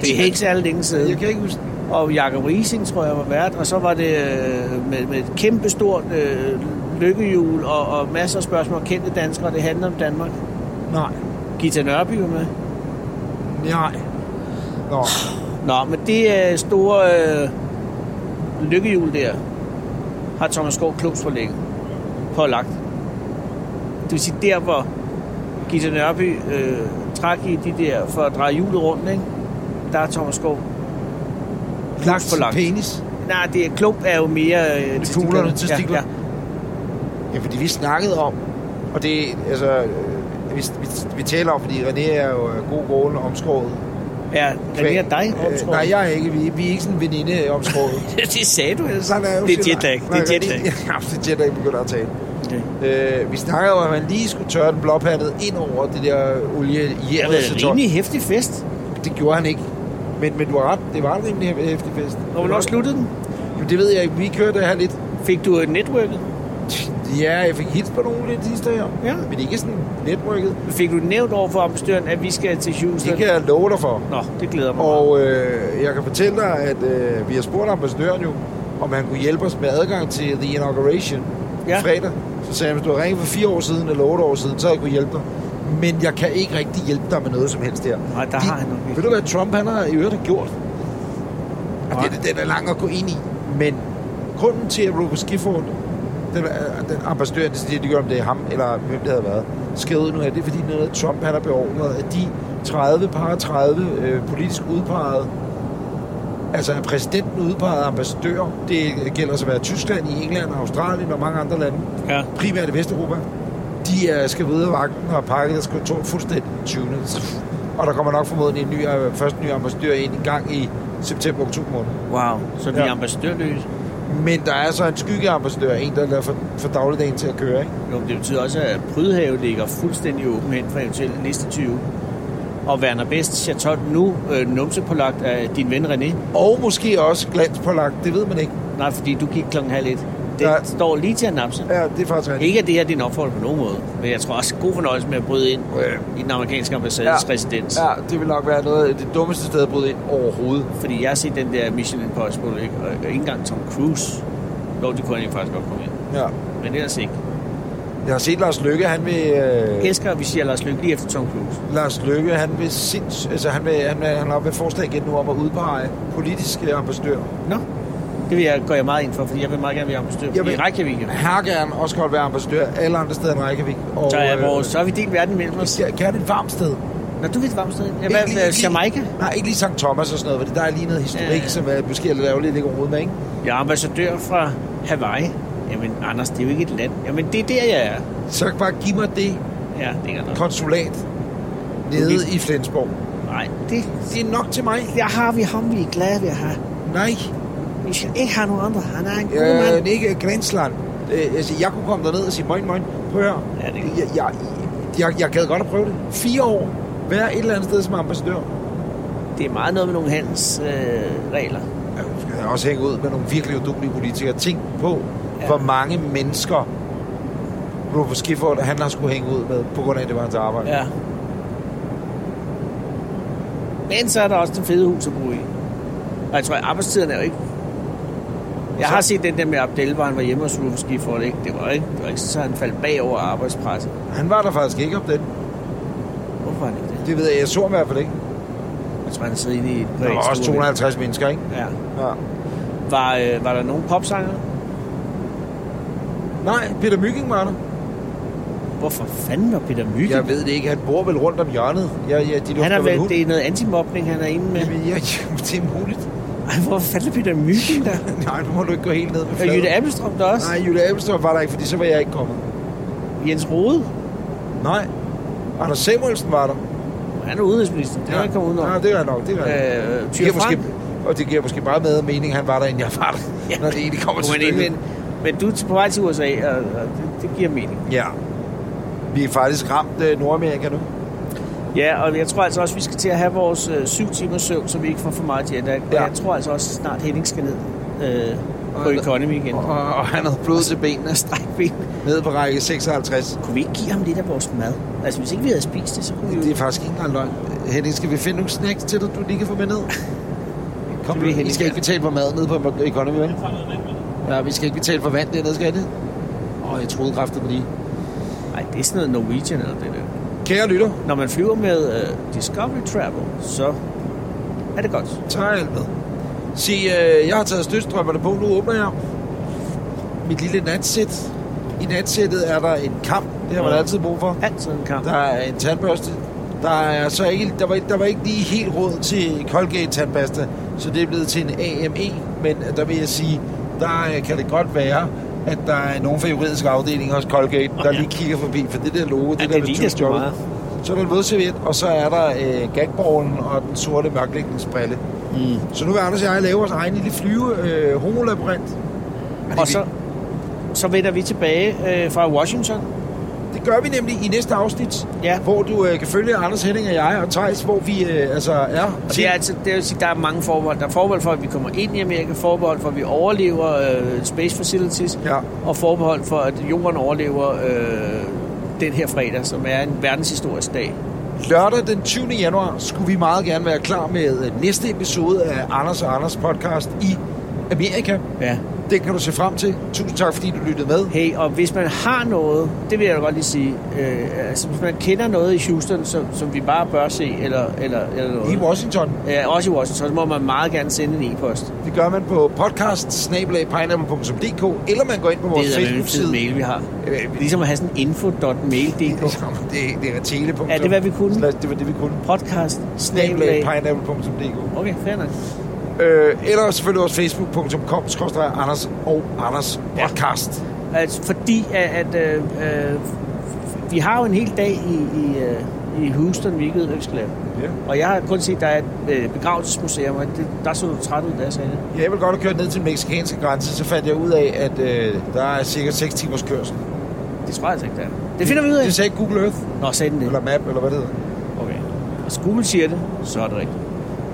Speaker 3: Det er ikke særlig længe siden.
Speaker 2: Jeg kan ikke huske den.
Speaker 3: og Jakob Rising, tror jeg, var vært, og så var det øh, med, med et kæmpestort øh, lykkehjul og, og masser af spørgsmål kendte danskere, det handler om Danmark.
Speaker 2: Nej.
Speaker 3: Gita Nørby var med.
Speaker 2: Nej. Nå.
Speaker 3: Nå, men det øh, store øh, lykkehjul der, har Thomas Skov Klubs forlægget, pålagt. Det vil sige, der hvor Gita Nørby øh, trak i de der for at dreje hjulet rundt, ikke? der er Thomas Skov.
Speaker 2: Lagt
Speaker 3: for langt.
Speaker 2: penis.
Speaker 3: Nej, det er, klub er jo mere... Øh,
Speaker 2: Kuglerne,
Speaker 3: testikler.
Speaker 2: testikler.
Speaker 3: Ja,
Speaker 2: Ja, fordi vi snakkede om, og det altså, øh, vi, vi, vi taler om, fordi René er jo øh, god gående omskåret.
Speaker 3: ja. ja det er dig,
Speaker 2: øh, Nej, jeg er ikke. Vi, vi er ikke sådan en veninde omskåret.
Speaker 3: det sagde du ellers.
Speaker 2: Sådan jeg jo
Speaker 3: Det er
Speaker 2: selv.
Speaker 3: jetlag.
Speaker 2: Nej,
Speaker 3: Det er
Speaker 2: René-
Speaker 3: jetlag.
Speaker 2: Ja, det er jetlag, begynder at tale. Øh, vi snakkede om, at man lige skulle tørre den blåpattede ind over det der olie i
Speaker 3: Det har været en rimelig hæftig fest.
Speaker 2: Det gjorde han ikke. Men, men du har ret, det var en rimelig hæftig fest.
Speaker 3: Og hvornår sluttede den?
Speaker 2: Jamen, det ved jeg ikke. Vi kørte her lidt.
Speaker 3: Fik du øh, netværket?
Speaker 2: Ja, jeg fik hits på nogle lidt sidste her.
Speaker 3: Ja.
Speaker 2: Men ikke sådan netværket.
Speaker 3: Fik du nævnt over for ambassadøren, at vi skal til Houston?
Speaker 2: Det kan jeg love dig for.
Speaker 3: Nå, det glæder mig. meget.
Speaker 2: Og øh, jeg kan fortælle dig, at øh, vi har spurgt ambassadøren jo, om han kunne hjælpe os med adgang til The Inauguration
Speaker 3: Ja.
Speaker 2: ja. fredag. Så sagde han, hvis du havde ringet for fire år siden eller otte år siden, så havde jeg kunne hjælpe dig. Men jeg kan ikke rigtig hjælpe dig med noget som helst der.
Speaker 3: Nej, der
Speaker 2: De-
Speaker 3: har han nok ikke.
Speaker 2: Ved du, hvad Trump han har i øvrigt har gjort?
Speaker 3: Nej.
Speaker 2: Og den, den er lang at gå ind i. Men grunden til, at Rufus Gifford, den, er- den ambassadør, det siger, de gør, om det er ham, eller hvem det havde været, skal ud nu her, det er fordi noget, af Trump han har beordret, at de 30 par 30 øh, politisk udpegede, altså er præsidenten udpeget ambassadør, det gælder så at være Tyskland, i England, Australien og mange andre lande,
Speaker 3: Ja.
Speaker 2: primært i Vesteuropa, de er, skal videre af vagten og har pakket deres kontor fuldstændig 20. Og der kommer nok formodentlig en ny, øh, først en ny ambassadør ind en gang i september-oktober måned.
Speaker 3: Wow, så vi er
Speaker 2: Ja.
Speaker 3: ambassadørløse.
Speaker 2: Men der er så en skyggeambassadør, en, der lader for, for dagligdagen til at køre, ikke?
Speaker 3: Jo, men det betyder også, at Prydhave ligger fuldstændig åben hen for eventuelt næste 20. Og Werner Best, Chateau nu, øh, numsepålagt af din ven René.
Speaker 2: Og måske også glanspålagt, det ved man ikke.
Speaker 3: Nej, fordi du gik klokken halv et. Det
Speaker 2: Nej.
Speaker 3: står lige til at napse.
Speaker 2: Ja, det er faktisk rigtigt.
Speaker 3: Ikke at det her er din opfordring på nogen måde, men jeg tror også god fornøjelse med at bryde ind
Speaker 2: Ja.
Speaker 3: i den amerikanske ambassades
Speaker 2: Ja.
Speaker 3: residens.
Speaker 2: Ja, det vil nok være noget af det dummeste sted at bryde ind overhovedet.
Speaker 3: Fordi jeg har set den der Mission Impossible, ikke? og ikke engang Tom Cruise. Jo, det kunne han jo faktisk godt komme ind.
Speaker 2: Ja.
Speaker 3: Men ellers ikke.
Speaker 2: Jeg har set Lars Lykke, han vil... Øh,
Speaker 3: Elsker, vi siger Lars Løkke lige efter Tom Cruise.
Speaker 2: Lars Lykke, han vil sinds... Altså, han vil, han vil, han har ved forslag igen nu om at udpege politiske ambassadører.
Speaker 3: Nå, det vil jeg, går jeg meget ind for, fordi jeg vil meget gerne være ambassadør.
Speaker 2: Jeg
Speaker 3: Jeg vil... I
Speaker 2: vil-
Speaker 3: Reykjavik,
Speaker 2: Her gerne også godt være ambassadør alle andre steder end Reykjavik. Og,
Speaker 3: så er,
Speaker 2: øh,
Speaker 3: vores, så er vi delt verden mellem os.
Speaker 2: Gerne- Gerne et varmt sted.
Speaker 3: Nå, du ved et varmt sted. Jeg
Speaker 2: Ikke lige-
Speaker 3: var
Speaker 2: ikke-
Speaker 3: Jamaica.
Speaker 2: Nej, ikke lige St. Thomas og sådan noget, fordi der er lige noget historik,
Speaker 3: Ja.
Speaker 2: ja. som er, måske er lidt ærgerligt, ikke overhovedet med, ikke?
Speaker 3: Jeg er ambassadør fra Hawaii. Jamen, Anders, det er jo ikke et land. Jamen, det er der, jeg er.
Speaker 2: Så bare giv mig det
Speaker 3: Ja, det er godt nok.
Speaker 2: konsulat nede
Speaker 3: Okay.
Speaker 2: i Flensborg.
Speaker 3: Nej, det,
Speaker 2: Det er nok til mig.
Speaker 3: der har vi ham, vi er glade ved at have.
Speaker 2: Nej.
Speaker 3: Vi skal ikke have nogen andre. Han er en god øh,
Speaker 2: Øh,
Speaker 3: mand.
Speaker 2: ikke Grænsland. Øh, altså, jeg kunne komme derned og sige, moin, moin, prøv at høre.
Speaker 3: Ja, det er-
Speaker 2: jeg, jeg, jeg, jeg gad godt at prøve det. Fire år. Vær et eller andet sted som ambassadør.
Speaker 3: Det er meget noget med nogle handelsregler. Øh,
Speaker 2: Ja, nu skal jeg også hænge ud med nogle virkelig udulige politikere. Tænk på,
Speaker 3: Ja.
Speaker 2: ja. hvor mange mennesker Rufus Skifford, han har skulle hænge ud med, på grund af, at det var hans arbejde.
Speaker 3: ja. Men så er der også det fede hus at bo i. Og jeg tror, at arbejdstiden er jo ikke... Jeg har set den der med Abdel, hvor han var hjemme hos Rufus Gifford, ikke? Det var ikke, det var ikke så, han faldt bagover arbejdspresset.
Speaker 2: Han var der faktisk ikke om den.
Speaker 3: Hvorfor er det ikke det?
Speaker 2: Det ved jeg, jeg så ham i hvert fald ikke.
Speaker 3: Jeg tror, han sidder inde i et
Speaker 2: Der var
Speaker 3: privat
Speaker 2: også
Speaker 3: stue.
Speaker 2: 250 mennesker, ikke?
Speaker 3: Ja.
Speaker 2: Ja.
Speaker 3: Var, øh, var der nogen popsanger?
Speaker 2: Nej, Peter Myking var der.
Speaker 3: Hvorfor fanden var Peter Mygind?
Speaker 2: Jeg ved det ikke, han bor vel rundt om hjørnet. Jeg, jeg, de
Speaker 3: han
Speaker 2: lugter
Speaker 3: er
Speaker 2: vel
Speaker 3: vel,
Speaker 2: hund.
Speaker 3: det er noget antimobning, han er inde med.
Speaker 2: Jamen, ja, jamen, det er muligt.
Speaker 3: Ej, hvor fanden er Peter Mygind der?
Speaker 2: Nej, nu må du ikke gå helt ned på
Speaker 3: Og
Speaker 2: fladen.
Speaker 3: Jytte Appelstrøm der også.
Speaker 2: Nej, Jytte Abelstrup var der ikke, fordi så var jeg ikke kommet.
Speaker 3: Jens Rode,
Speaker 2: Nej. Anders Samuelsen var der.
Speaker 3: han er udenrigsminister. Det kan ja. ikke komme udenom.
Speaker 2: Nej, det er nok, det er nok.
Speaker 3: Øh,
Speaker 2: Det
Speaker 3: Tyre
Speaker 2: giver
Speaker 3: Frank.
Speaker 2: måske, og det giver måske bare mere mening, han var der, end jeg var der,
Speaker 3: Ja.
Speaker 2: ja. når det egentlig kommer til
Speaker 3: Men,
Speaker 2: stykket.
Speaker 3: men, men du er til- på vej til USA, og, og det, det giver mening.
Speaker 2: Ja. Vi er faktisk ramt øh, Nordamerika nu.
Speaker 3: Ja, og jeg tror altså også, vi skal til at have vores øh, syv timers søvn, så vi ikke får for meget jet lag. Ja.
Speaker 2: Ja.
Speaker 3: Jeg tror altså også, snart Henning skal ned øh, på
Speaker 2: Og-
Speaker 3: Economy igen.
Speaker 2: Og, og han havde blod til benene.
Speaker 3: Stræk benene.
Speaker 2: Nede på række 56.
Speaker 3: Kunne vi ikke give ham lidt af vores mad? Altså, hvis ikke vi havde spist det, så kunne vi jo...
Speaker 2: Det er faktisk ikke engang løgn. Henning, skal vi finde nogle snacks til dig, du lige kan få med ned? Kom,
Speaker 3: Det vil
Speaker 2: I
Speaker 3: Henning
Speaker 2: skal ikke betale for mad nede på Economy, vel? Ja, vi skal ikke betale for vand dernede, skal I det? Åh, jeg troede kraftigt på lige.
Speaker 3: Nej, det er sådan noget Norwegian eller det der.
Speaker 2: Kære lytter,
Speaker 3: Når man flyver med øh, Discovery Travel, så er det godt.
Speaker 2: tager alt med. Se, øh, jeg har taget støtstrømmerne på, nu åbner jeg mit lille natsæt. I natsættet er der en kamp, det har man
Speaker 3: Ja.
Speaker 2: altid brug for.
Speaker 3: Altid en kamp.
Speaker 2: Der er en tandbørste. Der er så ikke, der var, ikke- der var ikke lige helt råd til Colgate tandpasta, så det er blevet til en AME, men der vil jeg sige, der øh, kan det godt være, at der er nogen fra juridisk afdeling hos Colgate, der
Speaker 3: ja.
Speaker 2: lige kigger forbi, for det der logo, det,
Speaker 3: Ja,
Speaker 2: der
Speaker 3: det ligner sgu
Speaker 2: jobbet.
Speaker 3: meget.
Speaker 2: Så er der en vådserviet, og så er der øh, gagborgen og den sorte mørklægningsbrille.
Speaker 3: Mm.
Speaker 2: Så nu vil Anders og jeg lave vores egen lille flyve øh, homolabyrint.
Speaker 3: Og så, så vender vi tilbage øh, fra Washington.
Speaker 2: Det gør vi nemlig i næste afsnit,
Speaker 3: Ja.
Speaker 2: hvor du øh, kan følge Anders Henning og jeg og Thijs, hvor vi øh, altså er.
Speaker 3: Og det er altså, det vil sige, der er mange forbehold. Der er forbehold for, at vi kommer ind i Amerika, forbehold for, at vi overlever øh, space facilities,
Speaker 2: Ja.
Speaker 3: og forbehold for, at jorden overlever øh, den her fredag, som er en verdenshistorisk dag.
Speaker 2: Lørdag den 20. januar skulle vi meget gerne være klar med øh, næste episode af Anders og Anders podcast i Amerika.
Speaker 3: Ja.
Speaker 2: Det kan du se frem til. Tusind tak, fordi du lyttede med.
Speaker 3: Hey, og hvis man har noget, det vil jeg da godt lige sige, øh, altså hvis man kender noget i Houston, som, som vi bare bør se, eller, eller, eller noget.
Speaker 2: I Washington.
Speaker 3: Ja, også i Washington, så må man meget gerne sende en e-post.
Speaker 2: Det gør man på podcast eller man går ind på vores
Speaker 3: Det er en fed
Speaker 2: Facebook-side.
Speaker 3: mail, vi har.
Speaker 2: Øh, vi-
Speaker 3: Ligesom at have sådan info.mail.dk
Speaker 2: Det, det er tele.
Speaker 3: Er det, hvad vi kunne?
Speaker 2: Det var det, vi kunne.
Speaker 3: podcast
Speaker 2: Snablag
Speaker 3: snabel-a-
Speaker 2: pineapple.dk
Speaker 3: Okay, fair nok.
Speaker 2: Øh, eller selvfølgelig også facebook.com skorstræk Anders og Anders
Speaker 3: Ja.
Speaker 2: podcast.
Speaker 3: Altså, fordi at, at øh, øh, vi har jo en hel dag i, i, øh, i i Houston, vi ikke ved, hvad vi skal lave.
Speaker 2: Ja.
Speaker 3: Og jeg har kun set, at der er et øh, begravelsesmuseum, og det, der så du træt ud, da jeg sagde det.
Speaker 2: Jeg ville godt have kørt ned til den meksikanske grænse, så fandt jeg ud af, at øh, der er cirka 6 timers kørsel.
Speaker 3: Det tror jeg altså ikke, der er. Det finder vi ud af.
Speaker 2: Det sagde Google Earth,
Speaker 3: Nå, sagde den det.
Speaker 2: eller Map, eller hvad det hedder.
Speaker 3: Okay. Hvis Google siger det, så er det rigtigt.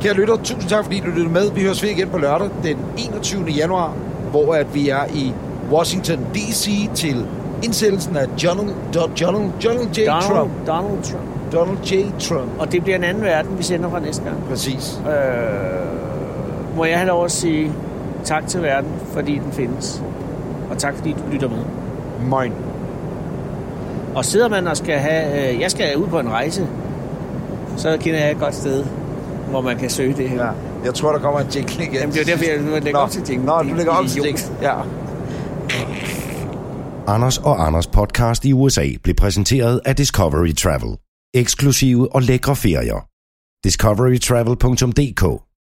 Speaker 2: Kære lytter, tusind tak fordi du lyttede med. Vi høres ved igen på lørdag den 21. januar, hvor at vi er i Washington D.C. til indsættelsen af Donald, Donald, Donald J. Trump.
Speaker 3: Donald, Donald Trump.
Speaker 2: Donald J. Trump.
Speaker 3: Og det bliver en anden verden, vi sender fra næste gang.
Speaker 2: Præcis.
Speaker 3: Øh, må jeg have lov at sige tak til verden, fordi den findes. Og tak, fordi du lytter med.
Speaker 2: Moin.
Speaker 3: Og sidder man og skal have... Øh, jeg skal ud på en rejse, så kender jeg et godt sted, hvor man kan søge det her.
Speaker 2: Ja. Jeg tror, der kommer en jingle igen.
Speaker 3: Jamen, det er jo derfor, jeg nu lægger
Speaker 2: Nå.
Speaker 3: op til jinglen.
Speaker 2: Nå, du lægger op til
Speaker 3: Idiot.
Speaker 2: jinglen. Ja.
Speaker 1: Anders og Anders podcast i USA blev præsenteret af Discovery Travel. Eksklusive og lækre ferier. discoverytravel.dk